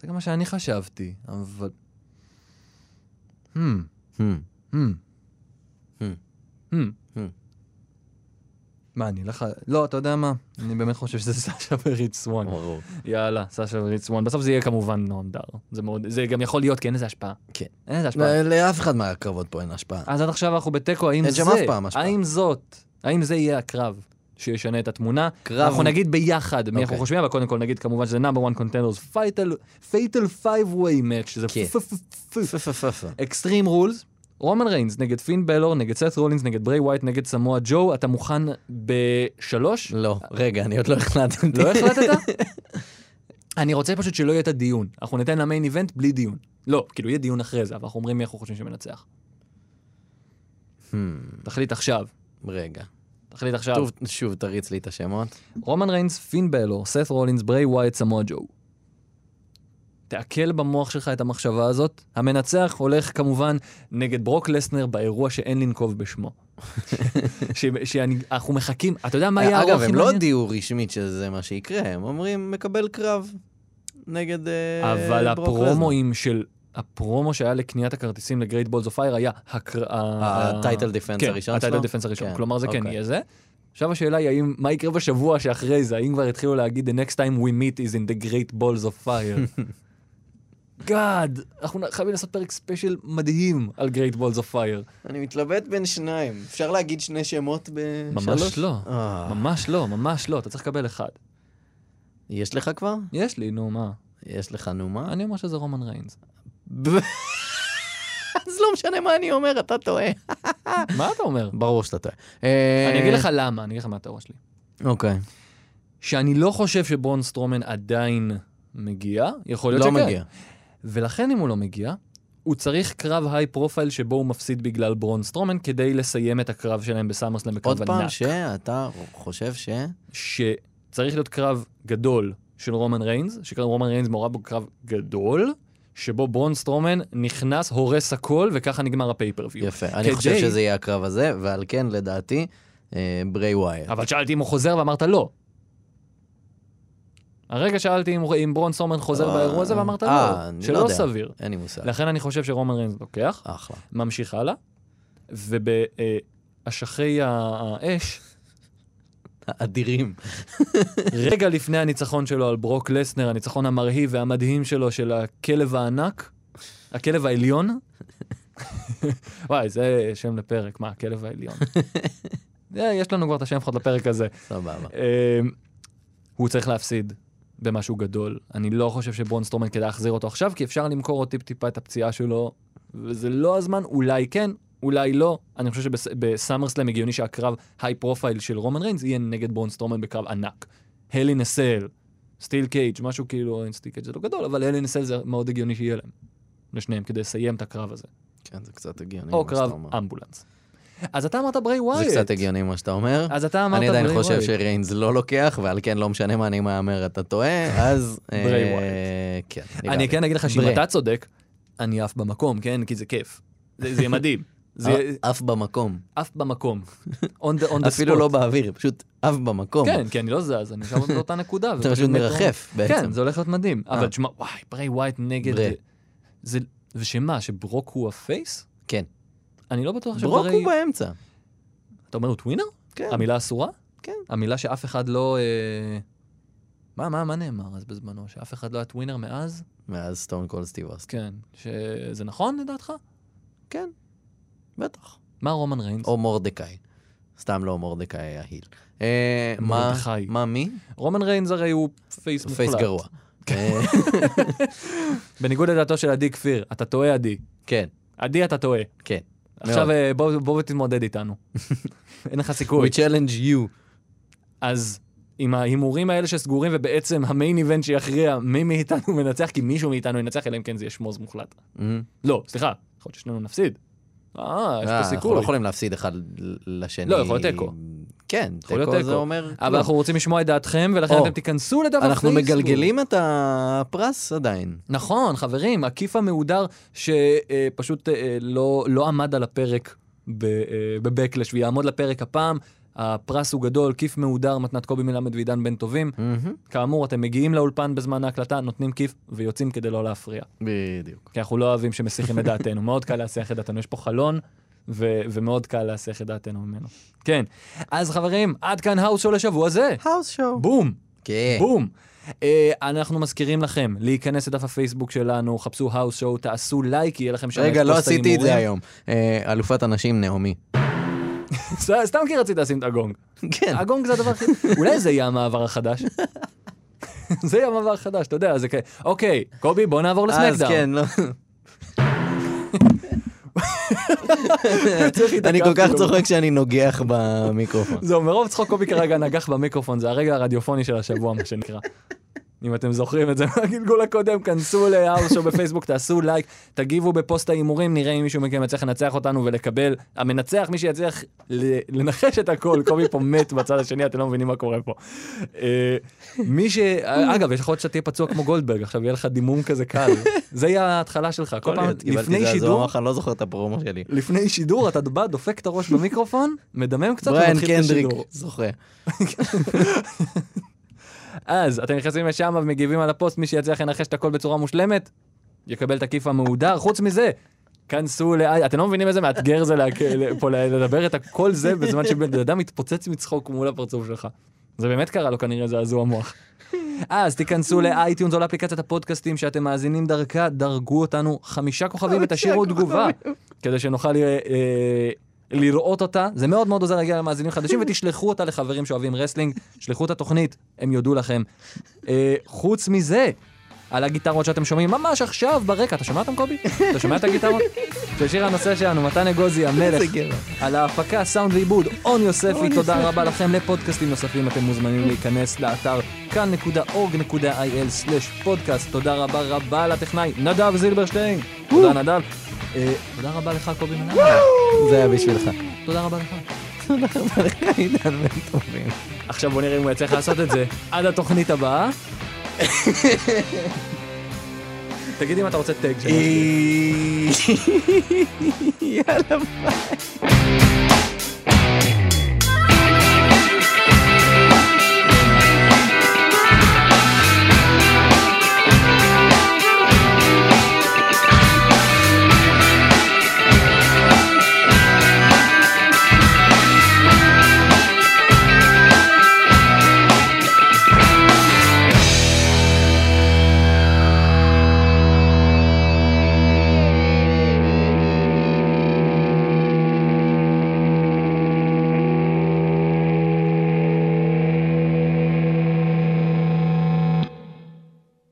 S4: זה גם מה שאני חשבתי, אבל... Hmm,
S5: Hmm.
S4: hmm,
S5: Hmm.
S4: hmm.
S5: Hmm.
S4: מה, אני אלך... ל- לא, אתה יודע מה? אני באמת חושב שזה <laughs> סאשה וריץ' וון.
S5: ברור.
S4: יאללה, סאשה וריץ' וון. בסוף זה יהיה כמובן נועם דר. זה מאוד... זה גם יכול להיות, כי אין לזה השפעה.
S5: כן.
S4: אין לזה השפעה.
S5: לאף אחד מהקרבות פה אין השפעה.
S4: אז עד עכשיו אנחנו בתיקו, האם
S5: אין
S4: זה,
S5: שם אף פעם השפעה.
S4: האם זאת, האם זה יהיה הקרב שישנה את התמונה.
S5: קרב-
S4: אנחנו נגיד ביחד מי אנחנו
S5: אוקיי.
S4: חושבים, אבל קודם כל נגיד כמובן שזה number one contenders, fatal, fatal five way match, שזה
S5: כן.
S4: פ- פ- פ- פ-
S5: פפפפפה.
S4: extreme rules, רומן ריינס נגד פין בלור, נגד סת רולינס, נגד ברי ווייט, נגד סמואה ג'ו, אתה מוכן בשלוש?
S5: לא, רגע, אני עוד לא החלטתי.
S4: לא
S5: <laughs>
S4: החלטת? אני רוצה פשוט שלא יהיה את הדיון. אנחנו ניתן למיין איבנט בלי דיון. לא, כאילו יהיה דיון אחרי זה, אבל אנחנו אומרים מי אנחנו חושבים שמנצח.
S5: Hmm,
S4: תחליט עכשיו.
S5: רגע.
S4: תחליט עכשיו.
S5: טוב, שוב תריץ לי את השמות.
S4: רומן ריינס, פין בלור, סת רולינס, ברי ווייט, סמואה ג'ו. תעכל במוח שלך את המחשבה הזאת. המנצח הולך כמובן נגד ברוק לסנר באירוע שאין לנקוב
S5: <laughs>
S4: בשמו. ש- שאני- אנחנו מחכים, אתה יודע מה יהיה האירוע
S5: אגב,
S4: הכי
S5: הם לא
S4: מעניין?
S5: הודיעו רשמית שזה מה שיקרה, הם אומרים, מקבל קרב נגד אה,
S4: אבל
S5: ברוק לזנר."
S4: הפרומואים של... הפרומו שהיה לקניית הכרטיסים לגרייט בולס אוף פייר היה הקר...
S5: אה,
S4: ה-
S5: הטייטל דיפנס
S4: כן,
S5: הראשון
S4: הטייטל
S5: שלו?
S4: דיפנס הראשון.
S5: כן,
S4: כלומר זה כן
S5: אוקיי.
S4: יהיה זה. עכשיו השאלה היא האם, מה יקרה בשבוע שאחרי זה, האם כבר התחילו להגיד The next time we meet is in the great balls of
S5: <laughs>
S4: fire. גאד, אנחנו חייבים לעשות פרק ספיישל מדהים על great balls of fire.
S5: אני מתלבט בין שניים. אפשר להגיד שני שמות בשלוש?
S4: ממש לא,
S5: אה,
S4: ממש לא, ממש לא, אתה צריך לקבל אחד.
S5: יש לך כבר?
S4: יש לי, נו מה.
S5: יש לך נו מה?
S4: אני אומר שזה רומן ריינס.
S5: <laughs> אז לא משנה מה אני אומר, אתה טועה.
S4: מה אתה אומר?
S5: ברור שאתה טועה. אה.
S4: אני אגיד לך למה, אני אגיד לך מה התיאוריה שלי.
S5: אוקיי.
S4: שאני לא חושב שברון סטרומן עדיין מגיע, יכול להיות
S5: לא
S4: שכן.
S5: מגיע.
S4: ולכן אם הוא לא מגיע, הוא צריך קרב היי פרופייל שבו הוא מפסיד בגלל ברון סטרומן כדי לסיים את הקרב שלהם בסאמרסלאם בקרב
S5: עוד פעם
S4: ענק.
S5: שאתה חושב ש...
S4: שצריך להיות קרב גדול של רומן ריינס, שקרב רומן ריינס מעורב בו קרב גדול, שבו ברון סטרומן נכנס, הורס הכל, וככה נגמר הפייפריוויו.
S5: יפה. אני חושב שזה יהיה הקרב הזה, ועל כן, לדעתי, אה, ברי ווייר.
S4: אבל שאלתי אם הוא חוזר ואמרת לא. הרגע שאלתי אם, אם ברון סטרומן חוזר
S5: אה,
S4: באירוע הזה ואמרת
S5: אה,
S4: לא,
S5: אני לא
S4: שלא
S5: יודע.
S4: סביר.
S5: אין לי מושג.
S4: לכן אני חושב שרומן ריינס לוקח.
S5: אחלה.
S4: ממשיך הלאה, ובאשכי האש,
S5: האדירים.
S4: רגע לפני הניצחון שלו על ברוק לסנר, הניצחון המרהיב והמדהים שלו של הכלב הענק, הכלב העליון. וואי, זה שם לפרק, מה, הכלב העליון. זה, יש לנו כבר את השם לפחות לפרק הזה.
S5: סבבה.
S4: אמ, הוא צריך להפסיד במשהו גדול. אני לא חושב שברון סטרומן כדאי להחזיר אותו עכשיו, כי אפשר למכור עוד טיפ-טיפה את הפציעה שלו, וזה לא הזמן, אולי כן, אולי לא. אני חושב שבסאמרסלאם הגיוני שהקרב היי פרופייל של רומן ריינס יהיה נגד ברון סטרומן בקרב ענק. הלי נסל, סטיל קייג', משהו כאילו, אין סטיל קייג' זה לא גדול, אבל הלי נסל זה מאוד הגיוני שיהיה להם. לשניהם, כדי לסיים את הקרב הזה.
S5: כן, זה קצת הגיוני.
S4: או
S5: מה שאתה
S4: קרב
S5: אומר.
S4: אמבולנס. אז אתה אמרת ברי
S5: זה
S4: ווייט.
S5: קצת הגיוני מה שאתה אומר.
S4: אז אתה אמרת
S5: אני
S4: ברי
S5: עדיין
S4: ווייט.
S5: חושב שריינס לא לוקח, ועל כן לא משנה מה אני מהמר, אתה
S4: <laughs>
S5: טועה, אז... אה,
S4: ברי ווייט.
S5: כן. נראה
S4: אני
S5: לי.
S4: כן אגיד לך שאם
S5: ברה.
S4: אתה צודק, אני עף במקום, כן? כי זה כיף. זה זה יהיה
S5: <laughs>
S4: מדהים. זה יהיה
S5: אה, עף במקום.
S4: עף
S5: <laughs>
S4: במקום. On the, on the
S5: אפילו
S4: spot.
S5: לא באוויר, פשוט עף במקום.
S4: כן, כי אני לא זז, אני שם
S5: <laughs>
S4: באותה נקודה.
S5: אתה
S4: ופשוט
S5: פשוט
S4: מת-
S5: מרחף בעצם.
S4: כן, זה הולך להיות מדהים. אבל
S5: אה.
S4: תשמע, וואי, ברי ווייט נגד...
S5: ברה.
S4: זה... ושמה, שברוק הוא הפייס?
S5: כן.
S4: אני לא בטוח שברי...
S5: ברוק הוא באמצע.
S4: אתה אומר הוא טווינר?
S5: כן.
S4: המילה אסורה?
S5: כן.
S4: המילה שאף אחד לא... אה, מה, מה, מה נאמר אז בזמנו? שאף אחד לא היה טווינר מאז?
S5: מאז סטון קול סטיב אוסטין.
S4: כן. שזה נכון לדעתך?
S5: כן, בטח.
S4: מה רומן ריינס?
S5: או מורדכאי. סתם לא מורדכאי היה היל. אה, מה-
S4: מרדכי.
S5: מה מי?
S4: רומן ריינס הרי הוא פייס מוחלט.
S5: פייס
S4: <laughs>
S5: גרוע. אה,
S4: בניגוד לדעתו של עדי כפיר, אתה טועה עדי.
S5: כן,
S4: עדי אתה טועה. <laughs>
S5: כן.
S4: עכשיו אה, בוא, בוא ותתמודד
S5: <laughs>
S4: איתנו. אין לך סיכוי.
S5: We challenge you.
S4: אז עם ההימורים האלה שסגורים ובעצם המיין איבנט שיכריע מי מאיתנו מנצח, כי מישהו מאיתנו ינצח, אלא אם כן זה יהיה שמוז מוחלט.
S5: אה,
S4: לא, סליחה, יכול להיות ששנינו נפסיד. אה, יש פה
S5: אנחנו לא
S4: סיכוי.
S5: יכולים להפסיד אחד לשני.
S4: לא, יכול להיות תיקו.
S5: כן,
S4: יכול להיות
S5: תיקו זה
S4: תיקו.
S5: אומר... לא,
S4: אבל
S5: כלום.
S4: אנחנו רוצים לשמוע את דעתכם, ולכן
S5: או.
S4: אתם תיכנסו לדף הפייסבוק.
S5: אנחנו מגלגלים את הפרס עדיין.
S4: נכון, חברים, עקיף המהודר שפשוט לא, לא עמד על הפרק ב- אה, בבקלש ויעמוד לפרק הפעם. הפרס הוא גדול, כיף מהודר, מתנת קובי מלמד ועידן בן טובים.
S5: מהמם.
S4: כאמור, אתם מגיעים לאולפן בזמן ההקלטה, נותנים כיף ויוצאים כדי לא להפריע.
S5: בדיוק.
S4: כי אנחנו לא אוהבים שמסיחים את דעתנו. מאוד קל להסיח את דעתנו, יש פה חלון, ו- ומאוד קל להסיח את דעתנו ממנו. כן. אז חברים, עד כאן האוס שואו לשבוע זה.
S5: האוס שואו.
S4: בום!
S5: כן.
S4: בום. אה, אנחנו מזכירים לכם להיכנס לדף הפייסבוק שלנו, חפשו האוס שואו, תעשו לייק, יהיה לכם שם
S5: רגע,
S4: את
S5: לא
S4: פוסט
S5: עשיתי את זה
S4: ההימורים.
S5: היום. אה, אלופת הנשים, נעמי.
S4: ס- <laughs> סתם כי רציתי לשים את הגונג.
S5: כן.
S4: הגונג זה הדבר
S5: <laughs>
S4: הכי... אולי זה יהיה המעבר החדש. זה יהיה המעבר החדש, <laughs>
S5: כן. לא.
S4: אתה יודע, זה כ... אוקיי, קובי, בוא נעבור
S5: אז
S4: לסמקדאון.
S5: כן, לא. אני כל
S4: כאילו.
S5: כך צוחק שאני נוגח במיקרופון.
S4: זהו, מרוב צחוק קובי כרגע נגח במיקרופון, זה הרגע הרדיופוני של השבוע, מה שנקרא. אם אתם זוכרים את זה מהגלגול הקודם, כנסו להאוסו בפייסבוק, תעשו לייק, תגיבו בפוסט ההימורים, נראה אם מישהו מכם יצליח לנצח אותנו ולקבל, המנצח, מי שיצליח ל- לנחש את הכל, קובי פה מת בצד השני, אתם לא מבינים מה קורה פה. אה, מי ש... אגב, יש לך עוד שאתה תהיה פצוע כמו גולדברג, עכשיו יהיה לך דימום כזה קל. זה יהיה ההתחלה שלך, <laughs> כל פעם, לפני שידור,
S5: אני לא זוכר את הפרומו שלי.
S4: לפני שידור אתה בא, דופק את הראש במיקרופון, מדמם קצת
S5: בריאן
S4: ומתחיל את
S5: קנדריק,
S4: השידור.
S5: זוכה.
S4: אז אתם נכנסים לשם ומגיבים על הפוסט, מי שיצליח לנחש את הכל בצורה מושלמת, יקבל את הכיף המהודר. חוץ מזה, כנסו ל... אתם לא מבינים איזה מאתגר <laughs> זה להק... פה לדבר את הכל זה בזמן שבן אדם מתפוצץ מצחוק מול הפרצוף שלך. זה באמת קרה לו כנראה זעזוע מוח. אה, אז תיכנסו לאייטיונס או לאפליקציית הפודקאסטים שאתם מאזינים דרכה, דרגו אותנו חמישה כוכבים ותשאירו תגובה, כדי שנוכל אה, אה, לראות אותה. זה מאוד מאוד עוזר להגיע למאזינים חדשים, ותשלחו אותה לחברים שאוהבים רסלינג, שלחו את התוכנית, הם יודו לכם. אה, חוץ מזה, על הגיטרות שאתם שומעים ממש עכשיו ברקע, אתה שומע אותם קובי? אתה שומע את <laughs> הגיטרות? זה שיר הנושא שלנו, מתן אגוזי המלך, על ההפקה, סאונד ועיבוד, און יוספי, תודה רבה לכם. לפודקאסטים נוספים אתם מוזמנים להיכנס לאתר כאן.org.il/פודקאסט. תודה רבה רבה לטכנאי נדב זילברשטיין. תודה נדב. אה, תודה רבה לך קובי מנהל.
S5: זה היה בשבילך.
S4: תודה רבה לך.
S5: עידן בן טובים.
S4: עכשיו בוא נראה אם הוא יצליח לעשות את זה עד התוכנית
S5: <laughs>
S4: הבאה. תגיד אם אתה
S5: אה,
S4: אה, רוצה טג שלנו.
S5: יאללה.